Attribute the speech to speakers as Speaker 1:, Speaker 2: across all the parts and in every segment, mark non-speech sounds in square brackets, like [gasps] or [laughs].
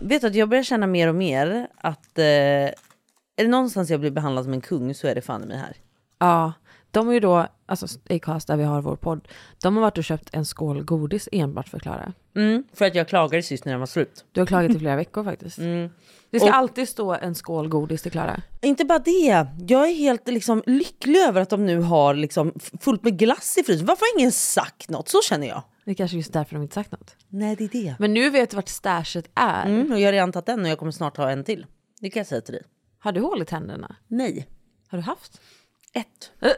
Speaker 1: Vet du att jag börjar känna mer och mer att eh, är det någonstans jag blir behandlad som en kung så är det fan i mig här.
Speaker 2: Ja, de har ju då, alltså Acast där vi har vår podd, de har varit och köpt en skål godis enbart för Klara.
Speaker 1: Mm, för att jag klagade sist när den var slut.
Speaker 2: Du har klagat i flera veckor faktiskt.
Speaker 1: Mm.
Speaker 2: Det ska alltid stå en skål godis till Klara.
Speaker 1: Inte bara det, jag är helt liksom, lycklig över att de nu har liksom, f- fullt med glass i frysen. Varför har ingen sagt något? Så känner jag.
Speaker 2: Det är kanske just därför de inte sagt något.
Speaker 1: Nej det är det.
Speaker 2: Men nu vet du vart stashet är.
Speaker 1: Mm, och jag har redan tagit en och jag kommer snart ha en till. Det kan jag säga till dig.
Speaker 2: Har du hål i tänderna?
Speaker 1: Nej.
Speaker 2: Har du haft?
Speaker 1: Ett.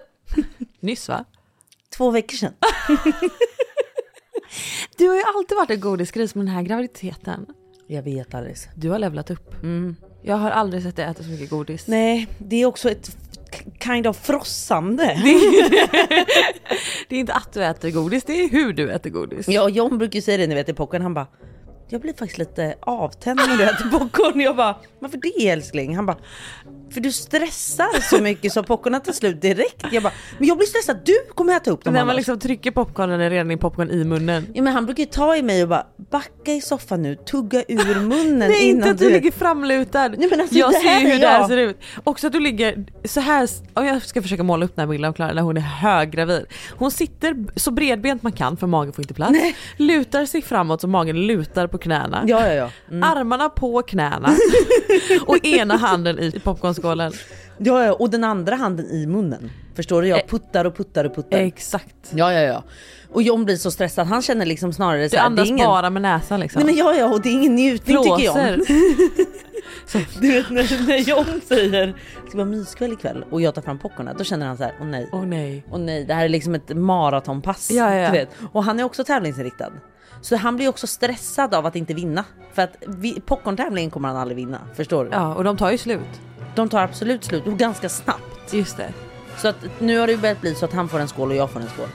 Speaker 2: Nyss va?
Speaker 1: Två veckor sedan.
Speaker 2: Du har ju alltid varit en godisgris med den här graviditeten.
Speaker 1: Jag vet Alice.
Speaker 2: Du har levlat upp. Jag har aldrig sett dig äta så mycket godis.
Speaker 1: Mm. Nej, det är också ett k- kind of frossande.
Speaker 2: Det är inte att du äter godis, det är hur du äter godis.
Speaker 1: Ja, och John brukar ju säga det ni vet i popcorn. Han bara, jag blir faktiskt lite avtänd när du
Speaker 2: [laughs]
Speaker 1: äter popcorn. Jag bara, varför det älskling? Han bara, för du stressar så mycket så popcornen tar slut direkt. Jag bara, men jag blir stressad, du kommer äta upp dem
Speaker 2: När man
Speaker 1: annars."
Speaker 2: liksom trycker popcornen är redan i popcorn i munnen.
Speaker 1: ja, men Han brukar ju ta i mig och bara, backa i soffan nu, tugga ur munnen
Speaker 2: [laughs] Nej
Speaker 1: innan
Speaker 2: inte att
Speaker 1: du...
Speaker 2: du ligger framlutad.
Speaker 1: Nej, men alltså,
Speaker 2: jag
Speaker 1: det
Speaker 2: ser
Speaker 1: här
Speaker 2: ju
Speaker 1: är
Speaker 2: hur det här
Speaker 1: jag.
Speaker 2: ser ut. Också att du ligger så här. Om jag ska försöka måla upp den här bilden av Klara när hon är höggravid. Hon sitter b- så bredbent man kan för magen får inte plats. Lutar sig framåt så magen lutar på knäna. Mm.
Speaker 1: Ja, ja, ja.
Speaker 2: Armarna på knäna
Speaker 1: [laughs]
Speaker 2: och ena handen i popcornskålen.
Speaker 1: ja, ja. Och den andra handen i munnen. Förstår du?
Speaker 2: Eh.
Speaker 1: Jag puttar och puttar och puttar.
Speaker 2: Exakt.
Speaker 1: Ja, ja, ja. Och John blir så stressad, han känner liksom snarare
Speaker 2: Du
Speaker 1: så här, det är
Speaker 2: andas
Speaker 1: ingen...
Speaker 2: bara med näsan liksom.
Speaker 1: Nej men ja, ja, och det är ingen njutning tycker jag.
Speaker 2: Flåser.
Speaker 1: [laughs] Du vet när, när John säger det ska vara myskväll ikväll och jag tar fram popcornen, då känner han så här, åh nej,
Speaker 2: Åh nej.
Speaker 1: åh nej, det här är liksom ett maratonpass.
Speaker 2: Ja, ja, ja.
Speaker 1: Du vet. Och han är också tävlingsinriktad. Så han blir också stressad av att inte vinna. För att vi, popcorntävlingen kommer han aldrig vinna, förstår du?
Speaker 2: Ja och de tar ju slut.
Speaker 1: De tar absolut slut, och ganska snabbt.
Speaker 2: Just det.
Speaker 1: Så att nu har det ju börjat bli så att han får en skål och jag får en skål.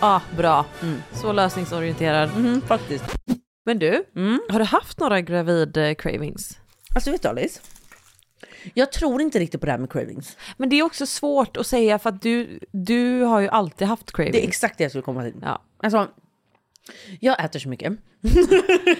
Speaker 2: Ja bra. Så lösningsorienterad.
Speaker 1: Mm, faktiskt.
Speaker 2: Men du, har du haft några gravid eh, cravings?
Speaker 1: Alltså vet du Alice? Jag tror inte riktigt på det här med cravings.
Speaker 2: Men det är också svårt att säga för att du, du har ju alltid haft cravings.
Speaker 1: Det är exakt det jag skulle komma till.
Speaker 2: ja.
Speaker 1: Alltså, jag äter så mycket.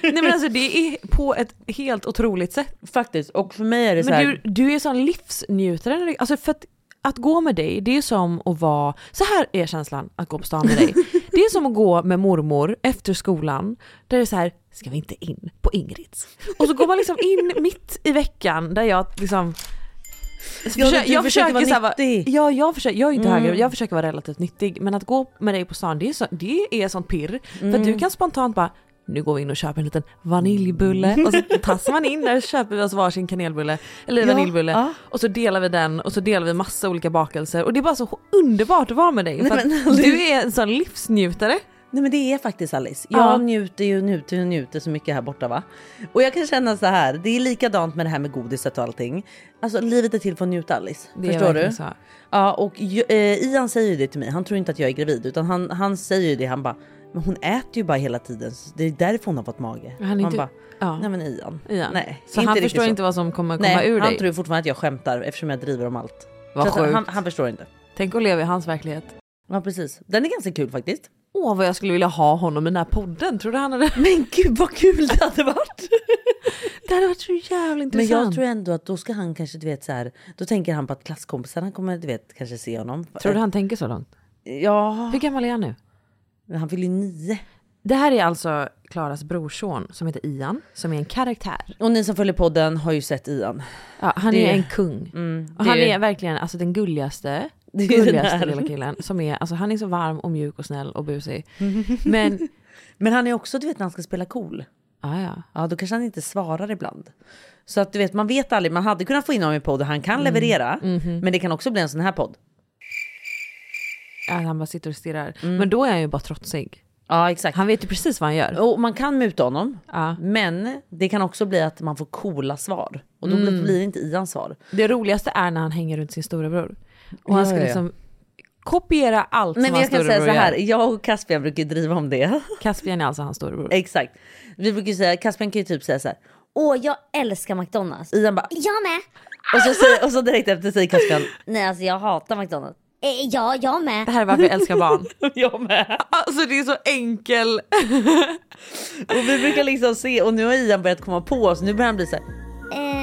Speaker 2: Nej men alltså det är på ett helt otroligt sätt.
Speaker 1: Faktiskt, och för mig är det så här...
Speaker 2: Men du, du är sån livsnjutare. när du- Alltså för att, att gå med dig, det är som att vara... Så här är känslan att gå på stan med
Speaker 1: [laughs]
Speaker 2: dig. Det är som att gå med mormor efter skolan. Där det är så här, ska vi inte in på Ingrids? Och så går man liksom in mitt i veckan där jag liksom...
Speaker 1: du försöker vara
Speaker 2: så här
Speaker 1: nyttig.
Speaker 2: ja, jag, försöker, jag är inte
Speaker 1: Mm.
Speaker 2: högre, jag försöker vara relativt nyttig. Men att gå med dig på stan, det är, så, det är sånt pirr. För att
Speaker 1: Mm.
Speaker 2: du kan spontant bara, nu går vi in och köper en liten vaniljbulle.
Speaker 1: [laughs]
Speaker 2: Och så tassar man in där och köper vi oss varsin kanelbulle. Eller
Speaker 1: Ja,
Speaker 2: vaniljbulle.
Speaker 1: ja.
Speaker 2: Och så delar vi den och så delar vi massa olika bakelser. Och det är bara så underbart att vara med dig.
Speaker 1: Nej,
Speaker 2: För
Speaker 1: men [laughs]
Speaker 2: att du är en sån livsnjutare.
Speaker 1: Nej men det är faktiskt Alice. Jag
Speaker 2: Ja.
Speaker 1: njuter ju njuter och njuter så mycket här borta va. Och jag kan känna så här, det är likadant med det här med godiset och allting. Alltså livet är till för att njuta Alice.
Speaker 2: Det är
Speaker 1: Förstår
Speaker 2: verkligen
Speaker 1: du?
Speaker 2: så.
Speaker 1: Ja och ju- eh, Ian säger ju det till mig, han tror inte att jag är gravid utan han, han säger ju det, han bara men hon äter ju bara hela tiden, så det är därför hon har fått mage.
Speaker 2: Men han är
Speaker 1: Man
Speaker 2: inte-
Speaker 1: bara,
Speaker 2: ja.
Speaker 1: nej men Ian.
Speaker 2: Ian.
Speaker 1: Nej,
Speaker 2: så han
Speaker 1: riktigt
Speaker 2: förstår
Speaker 1: så.
Speaker 2: inte vad som kommer komma
Speaker 1: nej,
Speaker 2: ur
Speaker 1: han
Speaker 2: dig.
Speaker 1: tror ju fortfarande att jag skämtar eftersom jag driver om allt.
Speaker 2: Vad
Speaker 1: så att
Speaker 2: sjukt.
Speaker 1: han, han förstår inte.
Speaker 2: Tänk att leva i hans verklighet.
Speaker 1: Ja precis, den är ganska kul faktiskt.
Speaker 2: Åh vad jag skulle vilja ha honom i den här podden. Tror du han hade...
Speaker 1: Men gud vad kul det hade varit!
Speaker 2: Det hade varit så jävla
Speaker 1: Men
Speaker 2: intressant.
Speaker 1: jag tror ändå att då ska han kanske, du vet så här, då tänker han på att klasskompisarna kommer, du vet, kanske se honom. Eh,
Speaker 2: Tror du han tänker så långt?
Speaker 1: Ja,
Speaker 2: Hur gammal är han nu?
Speaker 1: men han fyller ju nio.
Speaker 2: Det här är alltså Klaras brorson som heter Ian, som är en karaktär.
Speaker 1: Och ni som följer podden har ju sett Ian.
Speaker 2: Ja, han
Speaker 1: Det-
Speaker 2: är en kung. och
Speaker 1: det-
Speaker 2: Mm. han är verkligen alltså, den gulligaste,
Speaker 1: [laughs] Det är
Speaker 2: gulligaste
Speaker 1: den här.
Speaker 2: lilla killen. Som är, alltså, han är så varm och mjuk och snäll
Speaker 1: [laughs]
Speaker 2: och busig. Men,
Speaker 1: Men han är också, du vet, när han ska spela cool.
Speaker 2: ja ja.
Speaker 1: Ja, då kanske han inte svarar ibland. Så att du vet, man vet aldrig. Man hade kunnat få in honom i podden. Han
Speaker 2: Mm.
Speaker 1: kan leverera,
Speaker 2: Mm-hmm.
Speaker 1: men det kan också bli en sån här podd.
Speaker 2: Ja, han bara sitter och stirrar.
Speaker 1: Mm.
Speaker 2: Men då är han ju bara trotsig.
Speaker 1: Ja, exakt.
Speaker 2: Han vet ju precis vad han gör.
Speaker 1: Och man kan muta honom,
Speaker 2: Ja.
Speaker 1: men det kan också bli att man får coola svar. Och då
Speaker 2: Mm.
Speaker 1: blir- blir det inte Ians svar.
Speaker 2: Det roligaste är när han hänger runt sin storebror. Och han
Speaker 1: Ja,
Speaker 2: ska
Speaker 1: ja, ja.
Speaker 2: liksom kopiera allt
Speaker 1: Nej,
Speaker 2: som
Speaker 1: men
Speaker 2: hans
Speaker 1: jag kan
Speaker 2: storebror
Speaker 1: säga så här.
Speaker 2: gör.
Speaker 1: Jag och Caspian brukar ju driva om det. [laughs]
Speaker 2: Caspian är alltså hans storebror.
Speaker 1: Exakt. Vi brukar ju säga, Caspian kan ju typ säga så här.
Speaker 3: Åh, jag älskar McDonalds.
Speaker 1: Ian bara,
Speaker 3: Jag med.
Speaker 1: och så, säger, och så direkt efter säger Caspian,
Speaker 3: Nej, alltså jag hatar McDonalds. Eh, ja, jag
Speaker 2: Det
Speaker 3: med.
Speaker 2: här är varför jag älskar barn.
Speaker 1: [laughs] Jag med.
Speaker 2: Alltså det är så enkel.
Speaker 1: Och vi brukar liksom se, och nu har Ian börjat komma på oss, nu börjar han bli såhär,
Speaker 3: Eh,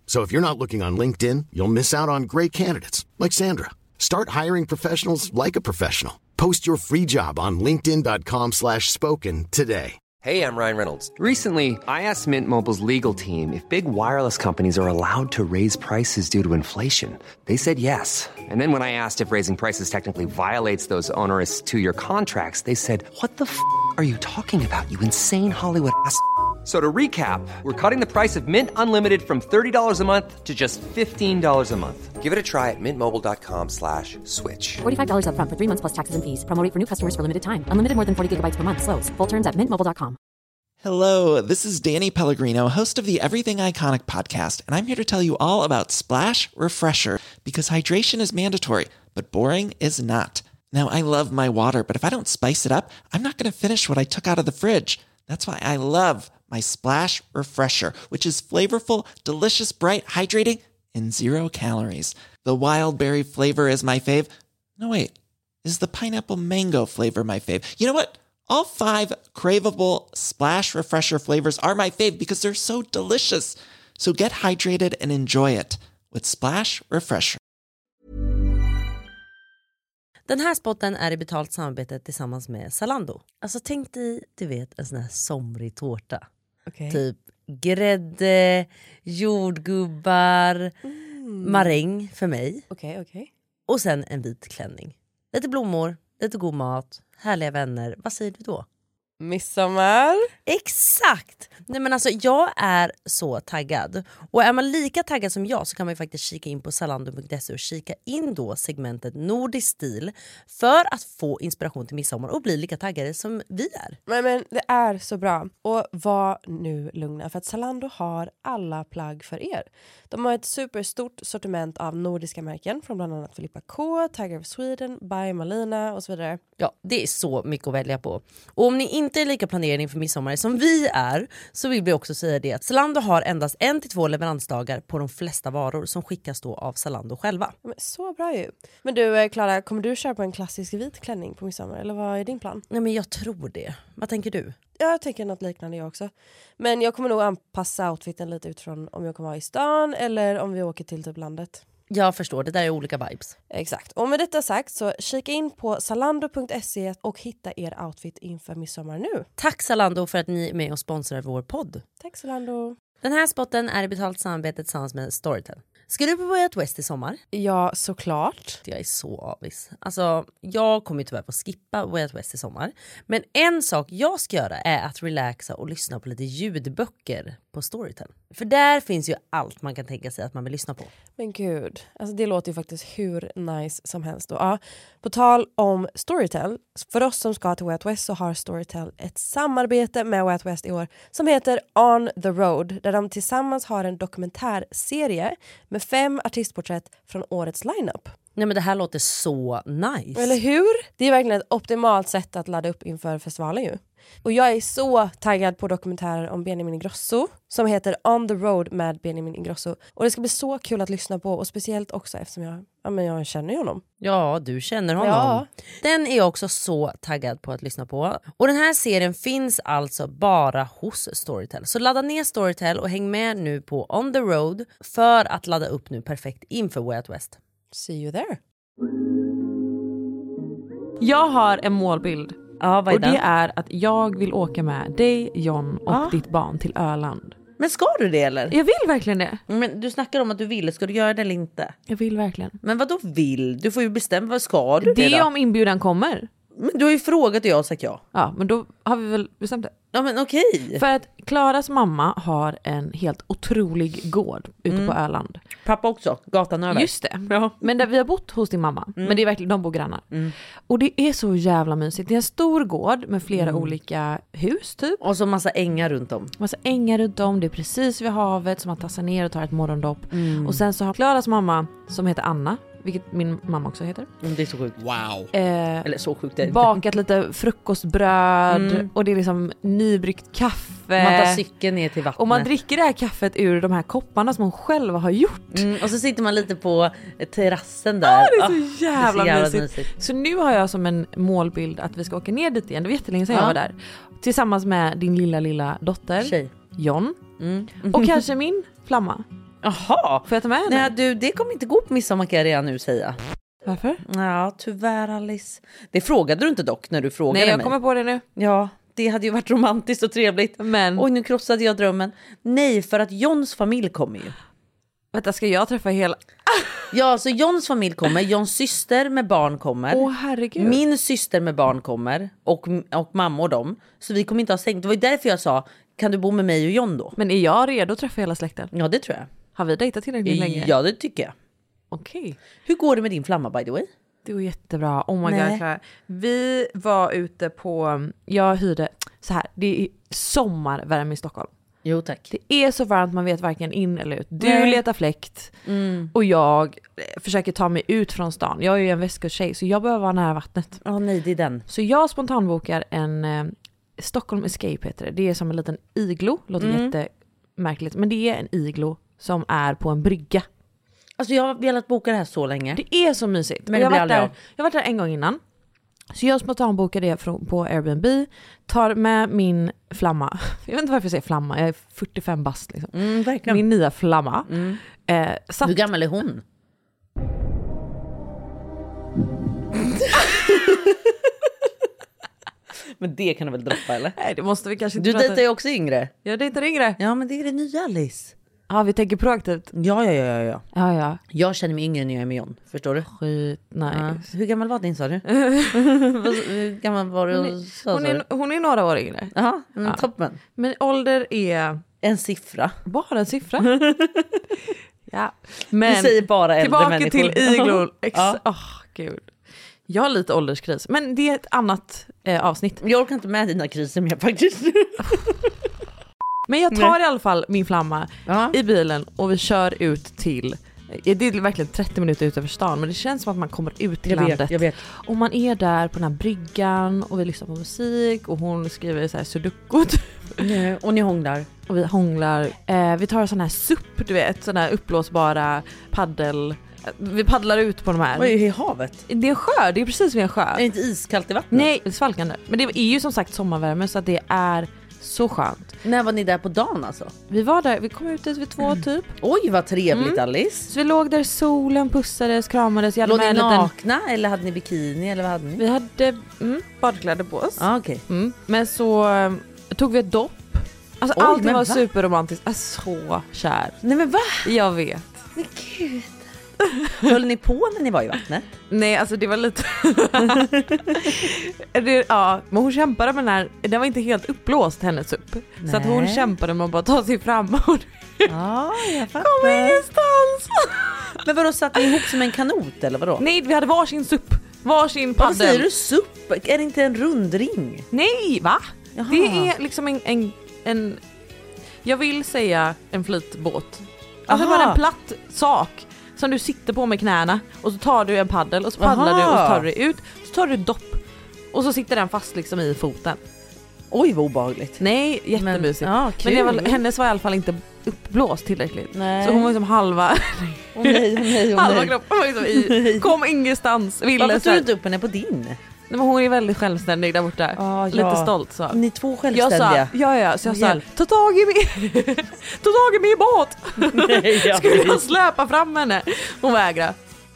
Speaker 4: So if you're not looking on LinkedIn, you'll miss out on great candidates like Sandra. Start hiring professionals like a professional. Post your free job on linkedin.com/spoken slash spoken today.
Speaker 5: Hey, I'm Ryan Reynolds. Recently, I asked Mint Mobile's legal team if big wireless companies are allowed to raise prices due to inflation. They said yes. And then when I asked if raising prices technically violates those onerous two year contracts, they said, What the f are you talking about, you insane Hollywood ass? f- a-" So to recap, we're cutting the price of Mint Unlimited from $30 a month to just $15 a month. Give it a try at mintmobile.com slash switch.
Speaker 6: $45 upfront for three months plus taxes and fees. Promo rate for new customers for limited time. Unlimited more than 40 gigabytes per month. Slows. Full terms at mintmobile.com.
Speaker 7: Hello, this is Danny Pellegrino, host of the Everything Iconic podcast, and I'm here to tell you all about Splash Refresher because hydration is mandatory, but boring is not. Now, I love my water, but if I don't spice it up, I'm not going to finish what I took out of the fridge. That's why I love my Splash Refresher, which is flavorful, delicious, bright, hydrating, and zero calories. The wild berry flavor is my fave. No, wait. Is the pineapple mango flavor my fave? You know what? All five craveable splash refresher flavors are my fave because they're so delicious. So get hydrated and enjoy it with Splash Refresher.
Speaker 1: Den här spotten är i betalt samarbete tillsammans med Zalando. Alltså tänk dig, du vet en sån här somrig tårta. Typ grädde, jordgubbar, Mm. maräng för mig.
Speaker 8: Okej, okej.
Speaker 1: Och sen en vit klänning. Lite blommor, lite god mat, härliga vänner. Vad säger du då?
Speaker 8: Midsommar.
Speaker 1: Exakt! Nej, men alltså, jag är så taggad. Och är man lika taggad som jag så kan man ju faktiskt kika in på zalando.se och kika in då segmentet Nordisk stil för att få inspiration till midsommar och bli lika taggade som vi är.
Speaker 8: Men, men det är så bra. Och var nu lugna för att Zalando har alla plagg för er. De har ett superstort sortiment av nordiska märken från bland annat Filippa K, Tiger of Sweden, By Malina och så vidare.
Speaker 1: Ja, det är så mycket att välja på. Och om ni inte är lika planerade inför midsommar som vi är så vill vi också säga det att Zalando har endast en till två leveransdagar på de flesta varor som skickas då av Zalando själva.
Speaker 8: Ja, Men så bra ju. Men du eh, Klara, kommer du köpa en klassisk vit klänning på midsommar eller vad är din plan?
Speaker 1: Nej, men jag tror det. Vad tänker du?
Speaker 8: Jag tänker något liknande jag också. Men jag kommer nog anpassa outfiten lite utifrån om jag kommer vara i stan eller om vi åker till typ landet.
Speaker 1: Jag förstår, det där är olika vibes.
Speaker 8: Exakt. Och med detta sagt så kika in på zalando.se och hitta er outfit inför midsommar nu.
Speaker 1: Tack Zalando för att ni är med och sponsrar vår podd.
Speaker 8: Tack Zalando.
Speaker 1: Den här spotten är i betalt samarbete tillsammans med Storytel. Ska du på Way Out West i sommar?
Speaker 8: Ja, såklart.
Speaker 1: Jag är så avis. Alltså, jag kommer ju tyvärr få skippa Way Out West i sommar. Men en sak jag ska göra är att relaxa och lyssna på lite ljudböcker på Storytel. För där finns ju allt man kan tänka sig att man vill lyssna på.
Speaker 8: Men gud, alltså det låter ju faktiskt hur nice som helst. Och, ja, på tal om Storytel, för oss som ska till Way Out West så har Storytel ett samarbete med Way Out West i år som heter On the Road där de tillsammans har en dokumentärserie med fem artistporträtt från årets lineup.
Speaker 1: Nej men det här låter så nice.
Speaker 8: Eller hur? Det är verkligen ett optimalt sätt att ladda upp inför festivalen ju. Och jag är så taggad på dokumentären om Benjamin Ingrosso som heter On the Road med Benjamin Ingrosso. Och det ska bli så kul att lyssna på och speciellt också eftersom jag, ja, men jag känner ju honom.
Speaker 1: Ja, du känner honom.
Speaker 8: Ja.
Speaker 1: Den är jag också så taggad på att lyssna på. Och den här serien finns alltså bara hos Storytel. Så ladda ner Storytel och häng med nu på On the Road för att ladda upp nu perfekt inför Way Out West.
Speaker 8: See you there.
Speaker 2: Jag har en målbild.
Speaker 1: Ja,
Speaker 2: Och det är att jag vill åka med dig, John och
Speaker 1: Ja.
Speaker 2: ditt barn till Öland.
Speaker 1: Men ska du det eller?
Speaker 2: Jag vill verkligen det.
Speaker 1: Men du snackar om att du vill, ska du göra det eller inte?
Speaker 2: Jag vill verkligen.
Speaker 1: Men vad då vill? Du får ju bestämma, vad ska du det,
Speaker 2: Det är
Speaker 1: då?
Speaker 2: om inbjudan kommer.
Speaker 1: Men du har ju frågat och jag har sagt ja.
Speaker 2: Ja, men då har vi väl bestämt det.
Speaker 1: Ja men okej.
Speaker 2: Mm. För att Klaras mamma har en helt otrolig gård ute på Öland.
Speaker 1: Pappa också, gatan över.
Speaker 2: Just det. Men där, vi har bott hos din mamma.
Speaker 1: Mm.
Speaker 2: Men det är verkligen, de bor grannar. Och det är så jävla mysigt. Det är en stor gård med flera
Speaker 1: Mm.
Speaker 2: olika hus typ.
Speaker 1: Och så massa ängar runt om.
Speaker 2: Massa ängar runt om, det är precis vid havet som man tassar ner och tar ett morgondopp.
Speaker 1: Mm.
Speaker 2: Och sen så har Klaras mamma, som heter Anna, vilket min mamma också heter,
Speaker 1: Mm, Det är så sjukt.
Speaker 7: Wow.
Speaker 2: eh,
Speaker 1: Eller så sjukt är det inte. Mm.
Speaker 2: bakat lite frukostbröd och det är liksom nybryggt kaffe.
Speaker 1: Man tar cykeln ner till vattnet.
Speaker 2: och man dricker det här kaffet ur de här kopparna som hon själv har gjort.
Speaker 1: Mm, och så sitter man lite på eh, terrassen där.
Speaker 2: det är
Speaker 1: Ah,
Speaker 2: så jävla, mysigt. Så nu har jag som en målbild att vi ska åka ner dit igen. Det var jättelänge sedan
Speaker 1: Ja.
Speaker 2: jag var där. Tillsammans med din lilla, lilla dotter
Speaker 1: Tjej. Mm.
Speaker 2: John. Och kanske min flamma.
Speaker 1: Jaha.
Speaker 2: Får jag ta med henne?
Speaker 1: Nej du, det kommer inte gå på midsommar kan jag redan nu säga.
Speaker 2: Varför?
Speaker 1: Ja, tyvärr Alice. Det frågade du inte dock när du frågade
Speaker 2: Nej, jag
Speaker 1: mig.
Speaker 2: kommer på det nu.
Speaker 1: Ja, det hade ju varit romantiskt och trevligt.
Speaker 2: Men
Speaker 1: Oj, nu krossade jag drömmen. Nej, för att Johns familj kommer ju.
Speaker 2: vänta, ska jag träffa hela...
Speaker 1: Ja, så Johns familj kommer, Johns syster med barn kommer.
Speaker 2: Åh herregud.
Speaker 1: Min syster med barn kommer och, och mamma och dem. Så vi kommer inte ha sänkt. Det var ju därför jag sa, kan du bo med mig och John då?
Speaker 2: Men är jag redo att träffa hela släkten?
Speaker 1: Ja, det tror jag.
Speaker 2: Har vi dejtat tillräckligt länge?
Speaker 1: Ja, det tycker jag.
Speaker 2: Okej.
Speaker 1: Hur går det med din flamma by the way?
Speaker 2: Det går jättebra. Oh my
Speaker 1: Nej.
Speaker 2: god Clara. Vi var ute på, jag hyrde, så här, det är sommarvärme i Stockholm.
Speaker 1: Jo tack.
Speaker 2: Det är så varmt man vet varken in eller ut. Du
Speaker 1: Nej.
Speaker 2: letar fläkt och jag eh, försöker ta mig ut från stan. Jag är ju en västkusttjej så jag behöver vara nära vattnet.
Speaker 1: Ja, nej det är den.
Speaker 2: Så jag spontanbokar en eh, Stockholm Escape heter det. Det är som en liten iglo, låter jättemärkligt. Men det är en iglo som är på en brygga.
Speaker 1: Alltså jag har velat boka det här så länge.
Speaker 2: Det är så mysigt.
Speaker 1: Men
Speaker 2: Och jag
Speaker 1: det blir
Speaker 2: har varit
Speaker 1: aldrig
Speaker 2: där,
Speaker 1: av.
Speaker 2: jag har varit där en gång innan. Så jag spontanbokar det från- på Airbnb, tar med min flamma. [laughs] Jag vet inte varför jag säger flamma, jag är 45 bast liksom.
Speaker 1: Mm, verkligen.
Speaker 2: Min nya flamma. Eh, satt
Speaker 1: Hur gammal är hon? men det kan du väl droppa eller?
Speaker 2: Nej det måste vi kanske inte
Speaker 1: Du
Speaker 2: prata-
Speaker 1: dejtar ju också yngre.
Speaker 2: Jag dejtar yngre.
Speaker 1: Ja men det är det nya Alice.
Speaker 2: Ja vi tänker proaktivt.
Speaker 1: Ja ja ja ja. ja.
Speaker 2: Ja ja.
Speaker 1: Jag känner mig yngre när jag är med John. Förstår du? Mm.
Speaker 2: Skit, nej.
Speaker 1: Ja. Hur gammal var din sa [laughs] du? Vad- Hur gammal var du? och sa,
Speaker 2: Hon,
Speaker 1: sa
Speaker 2: är,
Speaker 1: du?
Speaker 2: hon är några år yngre.
Speaker 1: Jaha, mm, toppen.
Speaker 2: Men ålder är
Speaker 1: En siffra.
Speaker 2: bara en [laughs] siffra. ja. Men
Speaker 1: du säger bara äldre
Speaker 2: tillbaka
Speaker 1: människor.
Speaker 2: till iglor. Ex-
Speaker 1: Ja.
Speaker 2: Åh, gud. Jag har lite ålderskris, men det är ett annat eh, avsnitt.
Speaker 1: [laughs] Jag orkar inte med dina kriser mer faktiskt.
Speaker 2: Men jag tar i alla fall min flamma
Speaker 1: Ja.
Speaker 2: i bilen och vi kör ut till eh, det är verkligen 30 minuter utanför stan men det känns som att man kommer ut till
Speaker 1: Jag
Speaker 2: landet.
Speaker 1: vet, jag vet.
Speaker 2: Och man är där på den här bryggan och vi lyssnar på musik och hon skriver så här sudoku typ.
Speaker 1: Nej, Och ni hånglar.
Speaker 2: och vi hånglar. Eh, vi tar sån här SUP du vet, sån här uppblåsbara paddel. eh, Vi paddlar ut på de här.
Speaker 1: Vad är det i havet?
Speaker 2: Det är en sjö, det är precis vid en
Speaker 1: Är
Speaker 2: sjö.
Speaker 1: det inte iskallt i vattnet?
Speaker 2: Nej, svalkande. Men det är ju som sagt sommarvärme så att det är så skönt.
Speaker 1: När var ni där på dagen alltså?
Speaker 2: Vi var där, vi kom ut dit vid två
Speaker 1: Mm.
Speaker 2: typ.
Speaker 1: Oj vad trevligt Alice.
Speaker 2: Så vi låg där i solen, pussades, kramades. Jag hade
Speaker 1: Låg
Speaker 2: med
Speaker 1: ni
Speaker 2: en liten...
Speaker 1: nakna eller hade ni bikini eller vad hade ni?
Speaker 2: Vi hade mm, badkläder på oss.
Speaker 1: Ah, okej.
Speaker 2: Mm. Men så eh, tog vi ett dopp. Alltså
Speaker 1: Oj,
Speaker 2: allting
Speaker 1: men
Speaker 2: var
Speaker 1: va?
Speaker 2: superromantiskt. Jag är så kär.
Speaker 1: Nej men va?
Speaker 2: Jag vet.
Speaker 1: Men gud. Höll ni på när ni var i vattnet?
Speaker 2: Nej alltså det var lite... [laughs] det, ja, men hon kämpade med den här, den var inte helt uppblåst hennes upp. Så att hon
Speaker 1: Nej.
Speaker 2: kämpade med att bara ta sig fram och
Speaker 1: [laughs] Ja, jag
Speaker 2: kom ingenstans.
Speaker 1: Men vadå, satt ni ihop som en kanot eller vadå?
Speaker 2: [laughs] Nej vi hade varsin SUP, varsin
Speaker 1: Vad säger
Speaker 2: paddel.
Speaker 1: du? SUP? Är det inte en rundring?
Speaker 2: Nej va?
Speaker 1: Jaha.
Speaker 2: Det är liksom en, en, en, jag vill säga en flytbåt. Alltså
Speaker 1: Aha.
Speaker 2: bara en platt sak som du sitter på med knäna och så tar du en paddel och så paddlar
Speaker 1: Aha.
Speaker 2: du och så tar du dig ut, så tar du ett dopp och så sitter den fast liksom i foten.
Speaker 1: Oj vad obehagligt.
Speaker 2: Nej, jättemysigt. Men,
Speaker 1: Men, ja,
Speaker 2: det var,
Speaker 1: kul.
Speaker 2: hennes var i alla fall inte uppblåst tillräckligt.
Speaker 1: Nej.
Speaker 2: Så hon var liksom halva,
Speaker 1: Åh nej, åh nej, [laughs] åh
Speaker 2: halva
Speaker 1: nej.
Speaker 2: kroppen var liksom
Speaker 1: [laughs]
Speaker 2: i, kom ingenstans. Ville
Speaker 1: Varför
Speaker 2: så
Speaker 1: tog
Speaker 2: här-
Speaker 1: du inte upp henne på din?
Speaker 2: Nej, men hon är väldigt självständig där borta.
Speaker 1: Ah, ja.
Speaker 2: Lite stolt så.
Speaker 1: Ni är två
Speaker 2: Jag sa,
Speaker 1: självständiga.
Speaker 2: ja, ja, så jag sa
Speaker 1: Hjälp.
Speaker 2: ta tag i min, [laughs] ta tag i min båt!
Speaker 1: Nej, jag
Speaker 2: [laughs] Skulle jag
Speaker 1: vet.
Speaker 2: släpa fram henne? Hon vägrade.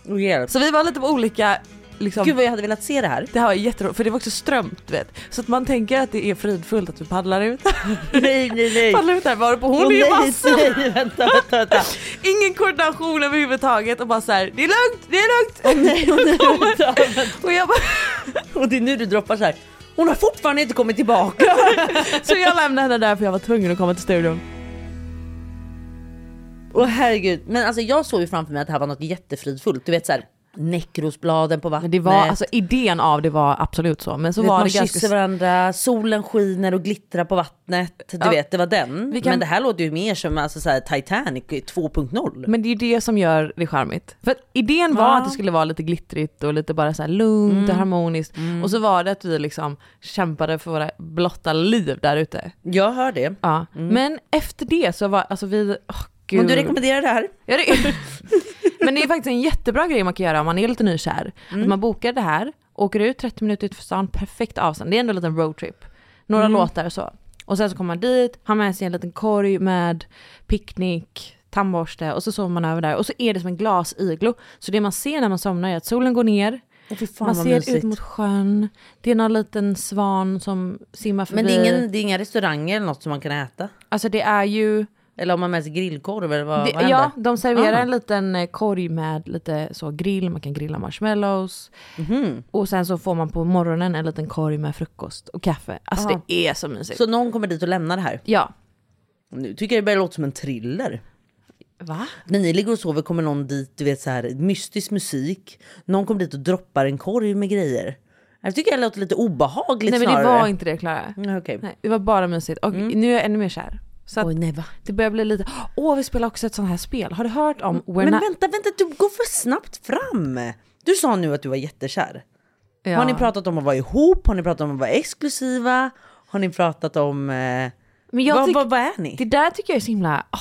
Speaker 1: Och hjälp.
Speaker 2: Så vi var lite på olika, liksom,
Speaker 1: Gud vad jag hade velat se det här.
Speaker 2: det här var jätteroligt för det var också strömt du vet. Så att man tänker att det är fridfullt att vi paddlar ut.
Speaker 1: [laughs]
Speaker 2: [laughs]
Speaker 1: Nej, nej, nej.
Speaker 2: paddlar ut här varpå hon
Speaker 1: Åh,
Speaker 2: är ju
Speaker 1: nej,
Speaker 2: vass.
Speaker 1: nej, vänta, vänta, [laughs] vänta.
Speaker 2: Ingen koordination överhuvudtaget och bara så här, det är lugnt, det är lugnt!
Speaker 1: Nej, och, nu, vänta, vänta.
Speaker 2: Och jag bara, [laughs]
Speaker 1: och det är nu du droppar så här. Hon har fortfarande inte kommit [laughs] tillbaka.
Speaker 2: så jag lämnade henne där för jag var tvungen att komma till studion.
Speaker 1: Och herregud. Men alltså jag såg ju framför mig att det här var något jättefridfullt. Du vet såhär näckrosbladen på
Speaker 2: Men
Speaker 1: vattnet.
Speaker 2: det var, alltså idén av det var absolut så. Men så
Speaker 1: du vet,
Speaker 2: var
Speaker 1: man
Speaker 2: det
Speaker 1: kysser
Speaker 2: ganska...
Speaker 1: varandra, solen skiner och glittrar på vattnet. Du vet, det var den.
Speaker 2: vi kan-
Speaker 1: Men det här låter ju mer som alltså, så här, Titanic 2.0.
Speaker 2: Men det är ju det som gör det charmigt. För att idén var
Speaker 1: Ja. Mm.
Speaker 2: att det skulle vara lite glittrigt och lite bara så här lugnt och harmoniskt. Och så var det att vi liksom kämpade för våra blotta liv där ute.
Speaker 1: Jag hör det.
Speaker 2: Ja. Men efter det så var, alltså vi, åh gud.
Speaker 1: Om du rekommenderar det här.
Speaker 2: Ja, det... Men det är [laughs] faktiskt en jättebra grej man kan göra om man är lite nykär.
Speaker 1: Mm.
Speaker 2: Att man bokar det här, åker ut 30 minuter ut för stan, perfekt avstånd. Det är ändå en liten roadtrip. Några
Speaker 1: Mm.
Speaker 2: låtar och så. Och sen så kommer man dit, har med sig en liten korg med picknick, tandborste och så sover man över där. Och så är det som en glasiglo. Så det man ser när man somnar är att solen går ner,
Speaker 1: Fy fan,
Speaker 2: man
Speaker 1: vad
Speaker 2: ser ut
Speaker 1: mysigt.
Speaker 2: mot sjön, det är någon liten svan som simmar förbi.
Speaker 1: Men det är, ingen, det är inga restauranger eller något som man kan äta?
Speaker 2: Alltså det är ju...
Speaker 1: Eller om man med sig grillkorv eller vad,
Speaker 2: Det,
Speaker 1: vad händer?
Speaker 2: ja, de serverar
Speaker 1: Ah.
Speaker 2: en liten eh, korg med lite så grill, man kan grilla marshmallows.
Speaker 1: Mhm.
Speaker 2: Och sen så får man på morgonen en liten korg med frukost och kaffe. Alltså
Speaker 1: Ah.
Speaker 2: det är så mysigt.
Speaker 1: Så någon kommer dit och lämnar det här?
Speaker 2: ja.
Speaker 1: Nu tycker jag det börjar låta som en thriller.
Speaker 2: Va?
Speaker 1: När ni ligger och sover kommer någon dit, du vet så här, mystisk musik. Någon kommer dit och droppar en korg med grejer. Jag tycker det låter lite obehagligt
Speaker 2: Nej men det
Speaker 1: snarare.
Speaker 2: var inte det Klara.
Speaker 1: Mm, okej.
Speaker 2: Nej, det var bara mysigt. Och nu är jag ännu mer kär. Så att
Speaker 1: Oj, nej, va?
Speaker 2: det börjar bli lite, åh vi spelar också ett sånt här spel. Har du hört om We're
Speaker 1: Mm. Men
Speaker 2: Not-
Speaker 1: vänta, vänta, du går för snabbt fram. Du sa nu att du var jättekär.
Speaker 2: Ja.
Speaker 1: Har ni pratat om att vara ihop? Har ni pratat om att vara exklusiva? Har ni pratat om... Eh,
Speaker 2: Men jag
Speaker 1: vad,
Speaker 2: tyck-
Speaker 1: vad, vad är ni?
Speaker 2: Det där tycker jag är så himla, åh,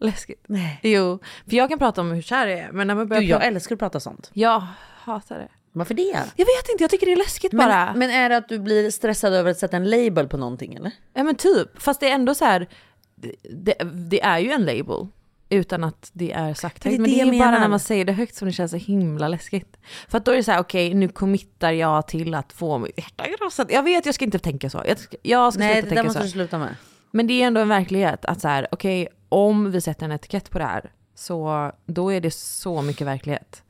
Speaker 2: läskigt.
Speaker 1: Nej.
Speaker 2: Jo, för jag kan prata om hur kär jag är men när man börjar
Speaker 1: Gud, jag
Speaker 2: prata...
Speaker 1: älskar att prata sånt.
Speaker 2: Jag hatar det.
Speaker 1: Varför det?
Speaker 2: Jag vet inte, jag tycker det är läskigt bara.
Speaker 1: Men, men är det att du blir stressad över att sätta en label på någonting eller?
Speaker 2: Ja men typ, fast det är ändå så här, det- det, det är ju en label utan att det är sagt
Speaker 1: Det är
Speaker 2: högt.
Speaker 1: det
Speaker 2: Men det är
Speaker 1: jag
Speaker 2: ju bara
Speaker 1: menar.
Speaker 2: när man säger det högt som det känns så himla läskigt. För att då är det så här, okej nu committar jag till att få mitt hjärta krossat. Jag vet, jag ska inte tänka så. Jag ska, jag ska
Speaker 1: Nej, det
Speaker 2: sluta
Speaker 1: där
Speaker 2: tänka
Speaker 1: måste du
Speaker 2: så.
Speaker 1: sluta med.
Speaker 2: Men det är ändå en verklighet att så här, okej om vi sätter en etikett på det här så då är det så mycket verklighet.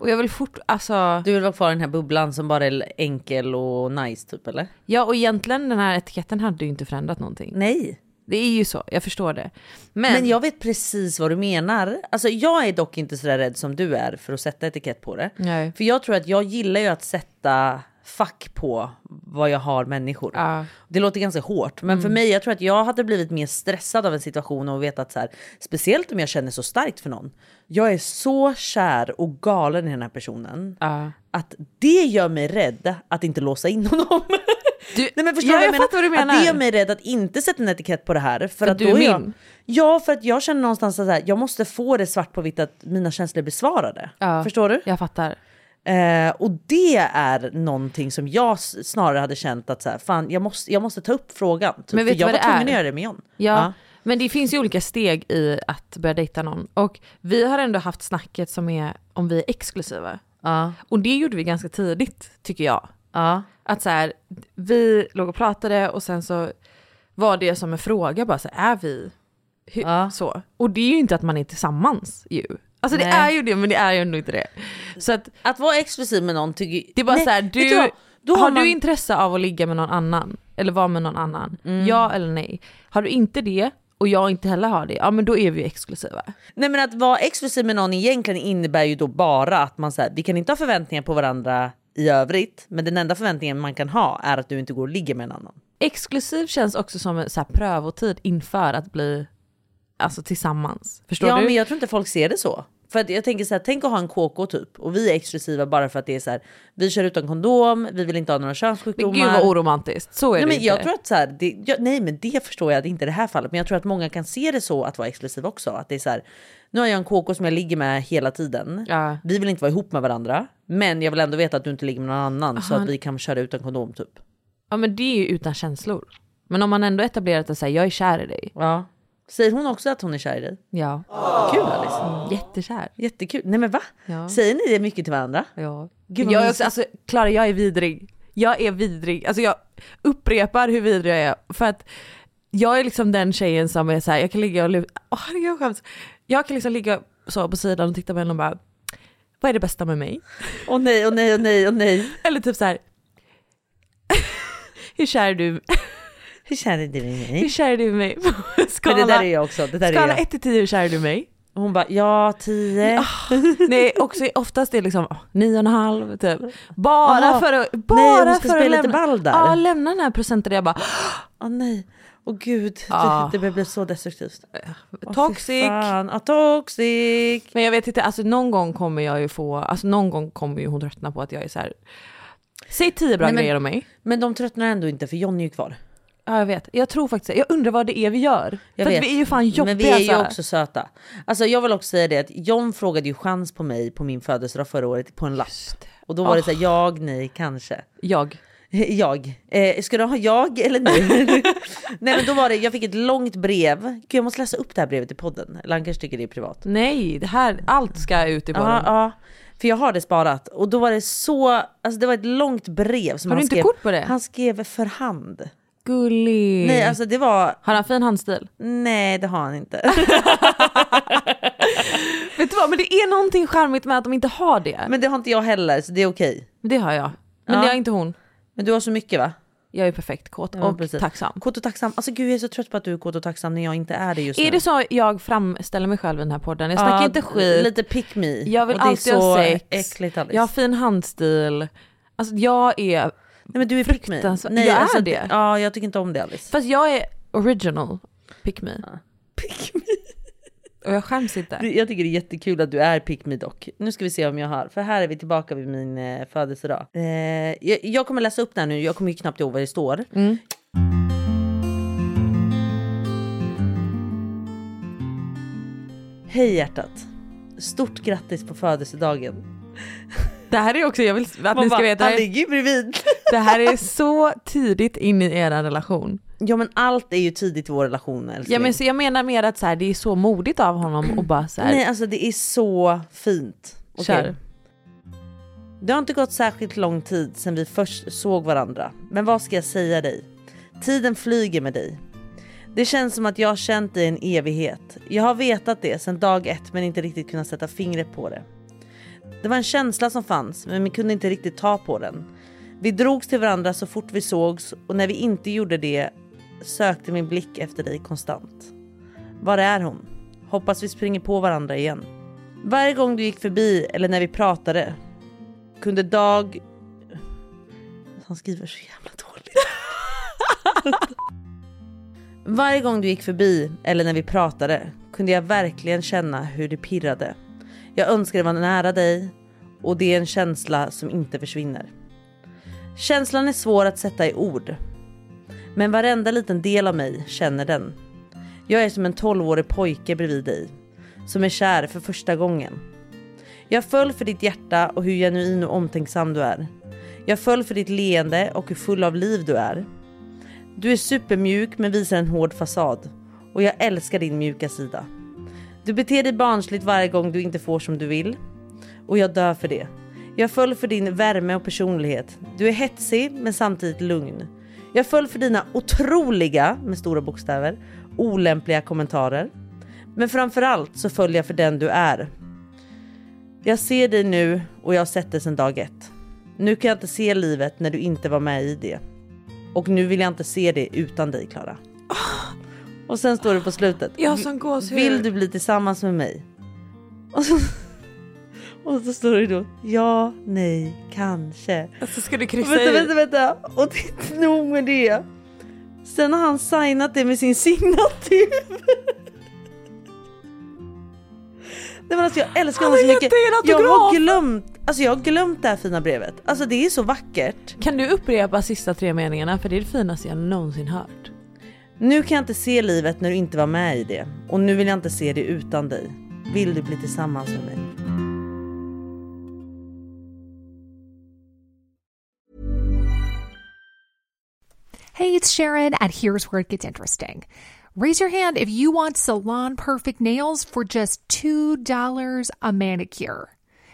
Speaker 2: Och jag vill fort, alltså,
Speaker 1: Du vill vara kvar i den här bubblan som bara är enkel och nice typ eller?
Speaker 2: ja och egentligen den här etiketten hade ju inte förändrat någonting.
Speaker 1: Nej.
Speaker 2: Det är ju så, jag förstår det. Men,
Speaker 1: Men, jag vet precis vad du menar. Alltså jag är dock inte så där rädd som du är för att sätta etikett på det.
Speaker 2: Nej.
Speaker 1: För jag tror att jag gillar ju att sätta fack på vad jag har människor.
Speaker 2: Ja. Mm.
Speaker 1: Det låter ganska hårt, men för mig, jag tror att jag hade blivit mer stressad av en situation och vetat så här, speciellt om jag känner så starkt för någon. Jag är så kär och galen i den här personen
Speaker 2: Ja.
Speaker 1: att det gör mig rädd att inte låsa in honom.
Speaker 2: Du-
Speaker 1: [laughs] Nej men förstår
Speaker 2: Ja,
Speaker 1: vad
Speaker 2: jag
Speaker 1: jag,
Speaker 2: fattar vad du menar.
Speaker 1: Att det gör mig rädd att inte sätta en etikett på det här. För, att
Speaker 2: du
Speaker 1: då
Speaker 2: är
Speaker 1: Jag,
Speaker 2: min.
Speaker 1: ja, för att jag känner någonstans att så här, jag måste få det svart på vitt att mina känslor är besvarade.
Speaker 2: Ja.
Speaker 1: Förstår du?
Speaker 2: Jag fattar.
Speaker 1: Eh, och det är någonting som jag s- snarare hade känt att så här, fan, jag, måste, jag måste ta upp frågan. Typ.
Speaker 2: Men vet
Speaker 1: för
Speaker 2: du
Speaker 1: jag
Speaker 2: vad
Speaker 1: var
Speaker 2: det
Speaker 1: tvungen
Speaker 2: är?
Speaker 1: att göra det med John.
Speaker 2: Ja, men det finns ju olika steg i att börja dejta någon. Och vi har ändå haft snacket som är om vi är exklusiva.
Speaker 1: Ja.
Speaker 2: Och det gjorde vi ganska tidigt, tycker jag. Att så här, vi låg och pratade och sen så var det som en fråga bara så här, är vi hur,
Speaker 1: Ja.
Speaker 2: så? Och det är ju inte att man är tillsammans ju. Alltså det
Speaker 1: Nej.
Speaker 2: är ju det, men det är ju ändå inte det. Så att
Speaker 1: Att vara exklusiv med någon tycker
Speaker 2: Det är bara
Speaker 1: Nej,
Speaker 2: så här,
Speaker 1: vet du
Speaker 2: du,
Speaker 1: vad? Då
Speaker 2: har,
Speaker 1: har man-
Speaker 2: du intresse av att ligga med någon annan? Eller vara med någon annan?
Speaker 1: Mm.
Speaker 2: Ja eller nej? Har du inte det och jag inte heller har det, ja men då är vi ju exklusiva.
Speaker 1: Nej men att vara exklusiv med någon egentligen innebär ju då bara att man säger vi kan inte ha förväntningar på varandra i övrigt, men den enda förväntningen man kan ha är att du inte går och ligger med en annan.
Speaker 2: Exklusiv känns också som en så här prövotid inför att bli alltså, tillsammans. Förstår
Speaker 1: ja
Speaker 2: du?
Speaker 1: men jag tror inte folk ser det så. För att jag tänker så här, tänk att ha en KK typ och vi är exklusiva bara för att det är så här, vi kör utan kondom, vi vill inte ha några
Speaker 2: men
Speaker 1: könssjukdomar.
Speaker 2: gud vad oromantiskt, så är
Speaker 1: Nej,
Speaker 2: det
Speaker 1: men
Speaker 2: inte.
Speaker 1: jag tror att så här, det, jag, nej men det förstår jag att det inte är det här fallet. Men jag tror att många kan se det så att vara exklusiv också. Att det är så här, nu har jag en KK som jag ligger med hela tiden.
Speaker 2: Ja.
Speaker 1: Vi vill inte vara ihop med varandra. Men jag vill ändå veta att du inte ligger med någon annan så att vi kan köra utan kondom typ.
Speaker 2: Ja men det är ju utan känslor. Men om man ändå etablerat att säga jag är kär i dig.
Speaker 1: Ja. Säger hon också att hon är kär i dig?
Speaker 2: Ja,
Speaker 1: Kul Alice.
Speaker 2: jättekär.
Speaker 1: Jättekul. Nej men va?
Speaker 2: Ja.
Speaker 1: Säger ni det mycket till varandra?
Speaker 2: Ja.
Speaker 1: Gud, vad
Speaker 2: jag är
Speaker 1: mysigt.
Speaker 2: också, alltså Klara jag är vidrig. Jag är vidrig. Alltså jag upprepar hur vidrig jag är. För att jag är liksom den tjejen som är så här, jag kan ligga och luta, åh herregud jag skäms. Jag kan liksom ligga så på sidan och titta på henne och bara, vad är det bästa med mig?
Speaker 1: Åh nej, åh
Speaker 2: [laughs]
Speaker 1: nej, åh nej, åh nej.
Speaker 2: Eller typ så här, hur kär är du? [laughs]
Speaker 1: Hur kär är du i
Speaker 2: Hur
Speaker 1: mig?
Speaker 2: kär är du i mig? [laughs]
Speaker 1: Men det där är
Speaker 2: skala,
Speaker 1: jag också. Det där är
Speaker 2: skala
Speaker 1: jag.
Speaker 2: 1 till 10, hur kär är du i mig? [laughs]
Speaker 1: Och Hon bara, ja tio.
Speaker 2: Nej, också oftast är det liksom åh, nio och en halv typ. Bara
Speaker 1: Aha.
Speaker 2: för att, bara
Speaker 1: Nej, hon ska
Speaker 2: för att
Speaker 1: spela lite
Speaker 2: lämna,
Speaker 1: ball där.
Speaker 2: ja, lämna den här procenten där jag bara
Speaker 1: Åh nej. Åh gud,
Speaker 2: Ah.
Speaker 1: det, det blir så destruktivt. Åh, fy
Speaker 2: toxic.
Speaker 1: fan. Ja, toxic.
Speaker 2: Men jag vet inte, alltså någon gång kommer jag ju få, alltså någon gång kommer ju hon tröttna på att jag är så här. Säg tio bra
Speaker 1: Nej, men-
Speaker 2: grejer om mig.
Speaker 1: Men de tröttnar ändå inte för Johnny är ju kvar.
Speaker 2: Ja jag vet, jag tror faktiskt Jag undrar vad det är vi gör.
Speaker 1: Jag
Speaker 2: För
Speaker 1: vet.
Speaker 2: att vi är ju fan jobbiga
Speaker 1: Men vi är ju
Speaker 2: så här.
Speaker 1: också söta. Alltså jag vill också säga det att John frågade ju chans på mig på min födelsedag förra året på en lapp. Och då var
Speaker 2: Ah.
Speaker 1: det så här, jag, nej, kanske. [laughs]
Speaker 2: Jag.
Speaker 1: Jag. Eh, ska du ha jag eller nej? [laughs] nej men då var det, jag fick ett långt brev. Gud jag måste läsa upp det här brevet i podden. Eller han kanske tycker det är privat.
Speaker 2: Nej, det här, allt ska ut i
Speaker 1: Ja,
Speaker 2: bollen.
Speaker 1: ja. För jag har det sparat. Och då var det så, alltså det var ett långt brev som
Speaker 2: Har du
Speaker 1: han
Speaker 2: inte
Speaker 1: skrev.
Speaker 2: kort på det? Mm.
Speaker 1: Han skrev för hand.
Speaker 2: Gullig.
Speaker 1: Nej alltså det var,
Speaker 2: Har han fin handstil?
Speaker 1: nej det har han inte. [laughs]
Speaker 2: Vet du vad, men det är någonting charmigt med att de inte har det.
Speaker 1: Men det har inte jag heller så det är okej.
Speaker 2: Det har jag. Men
Speaker 1: Ja.
Speaker 2: det har inte hon.
Speaker 1: Men du har så mycket va?
Speaker 2: Jag är perfekt kåt
Speaker 1: Ja,
Speaker 2: och
Speaker 1: precis.
Speaker 2: tacksam.
Speaker 1: Kåt och tacksam. Alltså gud jag är så trött på att du är kåt och tacksam när jag inte är det just nu.
Speaker 2: Är det så jag framställer mig själv i den här podden? Jag snackar
Speaker 1: Ja,
Speaker 2: inte skit.
Speaker 1: Lite pick me.
Speaker 2: Jag vill
Speaker 1: och det
Speaker 2: alltid
Speaker 1: är så
Speaker 2: ha sex.
Speaker 1: äckligt Alice.
Speaker 2: Jag har fin handstil. Alltså jag är,
Speaker 1: Nej men du är pick me. alltså,
Speaker 2: fruktansvärt- Jag är det.
Speaker 1: Ja jag tycker inte om det Alice.
Speaker 2: fast jag är original, pick me. [laughs] Och jag skäms inte.
Speaker 1: Det- Jag tycker det är jättekul att du är pick me dock. Nu ska vi se om jag har, för här är vi tillbaka vid min eh, födelsedag. Eh, jag, jag kommer läsa upp det här nu, jag kommer ju knappt ihåg vad det står.
Speaker 2: Mm.
Speaker 1: Hej hjärtat! Stort grattis på födelsedagen.
Speaker 2: Det här är också, jag vill att ni ska
Speaker 1: bara,
Speaker 2: veta,
Speaker 1: han ligger ju bredvid. [laughs]
Speaker 2: det här är så tidigt in i er relation.
Speaker 1: ja men allt är ju tidigt i vår relation älskling.
Speaker 2: Ja, men så jag menar mer att så här, det är så modigt av honom att bara så här,
Speaker 1: Nej alltså det är så fint. Okej.
Speaker 2: kör.
Speaker 1: Det har inte gått särskilt lång tid sedan vi först såg varandra. Men vad ska jag säga dig? Tiden flyger med dig. Det känns som att jag har känt dig en evighet. Jag har vetat det sedan dag ett men inte riktigt kunnat sätta fingret på det. Det var en känsla som fanns men vi kunde inte riktigt ta på den. Vi drogs till varandra så fort vi sågs och när vi inte gjorde det sökte min blick efter dig konstant. Var är hon? Hoppas vi springer på varandra igen. Varje gång du gick förbi eller när vi pratade kunde Dag... Han skriver så jävla dåligt. [laughs] Varje gång du gick förbi eller när vi pratade kunde jag verkligen känna hur det pirrade. Jag önskade vara nära dig och det är en känsla som inte försvinner. Känslan är svår att sätta i ord. Men varenda liten del av mig känner den. Jag är som en 12-årig pojke bredvid dig som är kär för första gången. Jag föll för ditt hjärta och hur genuin och omtänksam du är. Jag föll för ditt leende och hur full av liv du är. Du är supermjuk men visar en hård fasad och jag älskar din mjuka sida. Du beter dig barnsligt varje gång du inte får som du vill och jag dör för det. Jag föll för din värme och personlighet. Du är hetsig men samtidigt lugn. Jag föll för dina otroliga, med stora bokstäver, olämpliga kommentarer. Men framförallt så föll jag för den du är, jag ser dig nu och jag har sett dig sedan dag ett. Nu kan jag inte se livet när du inte var med i det. Och nu vill jag inte se det utan dig Klara. Och sen står det på slutet.
Speaker 2: Ah. Jag har sån gåshud.
Speaker 1: Vill du bli tillsammans med mig? Och så, [laughs] och så står det då ja, nej, kanske.
Speaker 2: Alltså ska du
Speaker 1: Och
Speaker 2: kryssa
Speaker 1: Vänta,
Speaker 2: i?
Speaker 1: vänta, vänta. Och det är inte nog med det. Sen har han signat det med sin signatur. Nej men alltså jag älskar honom så
Speaker 2: har gett
Speaker 1: mycket.
Speaker 2: dig en
Speaker 1: Jag har
Speaker 2: autograf.
Speaker 1: glömt, alltså jag har glömt det här fina brevet. Alltså det är så vackert.
Speaker 2: Kan du upprepa sista tre meningarna för det är det finaste jag någonsin hört.
Speaker 1: Nu kan jag inte se livet när du inte var med i det. Och nu vill jag inte se det utan dig. Vill du bli tillsammans med mig?
Speaker 9: Hey, it's Sharon, and here's where it gets interesting. Raise your hand if you want salon perfect nails for just $2 a manicure.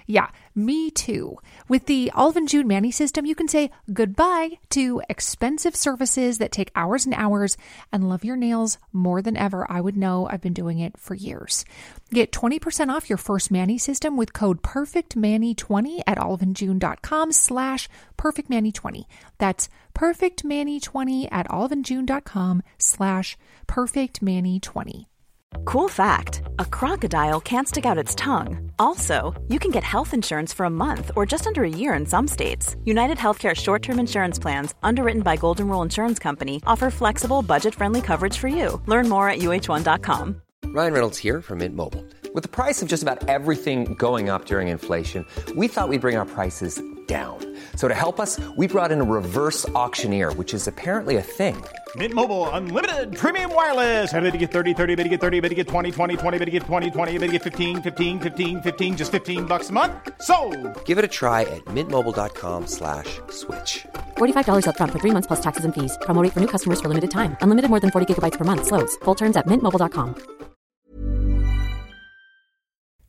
Speaker 9: Yeah, me too. With the Alvin June Manny system, you can say goodbye to expensive services that take hours and hours and love your nails more than ever. I would know I've been doing it for years. Get 20% off your first Manny system with code PERFECTMANNY20 at oliveandjune.com slash PERFECTMANNY20. That's perfectmanny20 at oliveandjune.com slash perfectmanny20.
Speaker 10: Cool fact a crocodile can't stick out its tongue. Also, you can get health insurance for a month or just under a year in some states. United Healthcare short term insurance plans, underwritten by Golden Rule Insurance Company, offer flexible, budget friendly coverage for you. Learn more at uh1.com.
Speaker 5: Ryan Reynolds here from Mint Mobile. With the price of just about everything going up during inflation, we thought we'd bring our prices down. So to help us, we brought in a reverse auctioneer, which is apparently a thing.
Speaker 11: Mint Mobile unlimited premium wireless. Ready to get 30, 30, bit to get 30, bit to get 20, 20, 20, bit to get 20, 20, bit to get 15, 15, 15, 15 just 15 bucks a month. So,
Speaker 5: Give it a try at mintmobile.com slash switch.
Speaker 6: $45 upfront for three months plus taxes and fees. Promo rate for new customers for limited time. Unlimited more than 40 gigabytes per month. Slows. Full terms at mintmobile.com.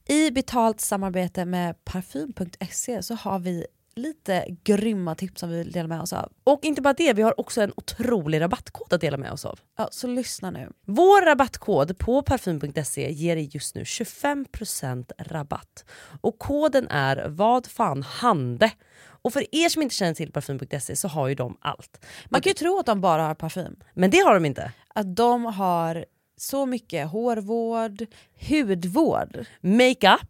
Speaker 8: I betalt samarbete med parfym.se så har vi lite grymma tips som vi delar med oss av.
Speaker 1: Och inte bara det, vi har också en otrolig rabattkod att dela med oss av.
Speaker 8: Ja, så lyssna nu.
Speaker 1: Vår rabattkod på parfym.se ger dig just nu 25% rabatt. Och koden är vad fan hande. Och för er som inte känner till parfym.se så har ju de allt.
Speaker 8: Man kan ju tro att de bara har parfym.
Speaker 1: Men det har de inte.
Speaker 8: Att de har så mycket hårvård, hudvård.
Speaker 1: Makeup.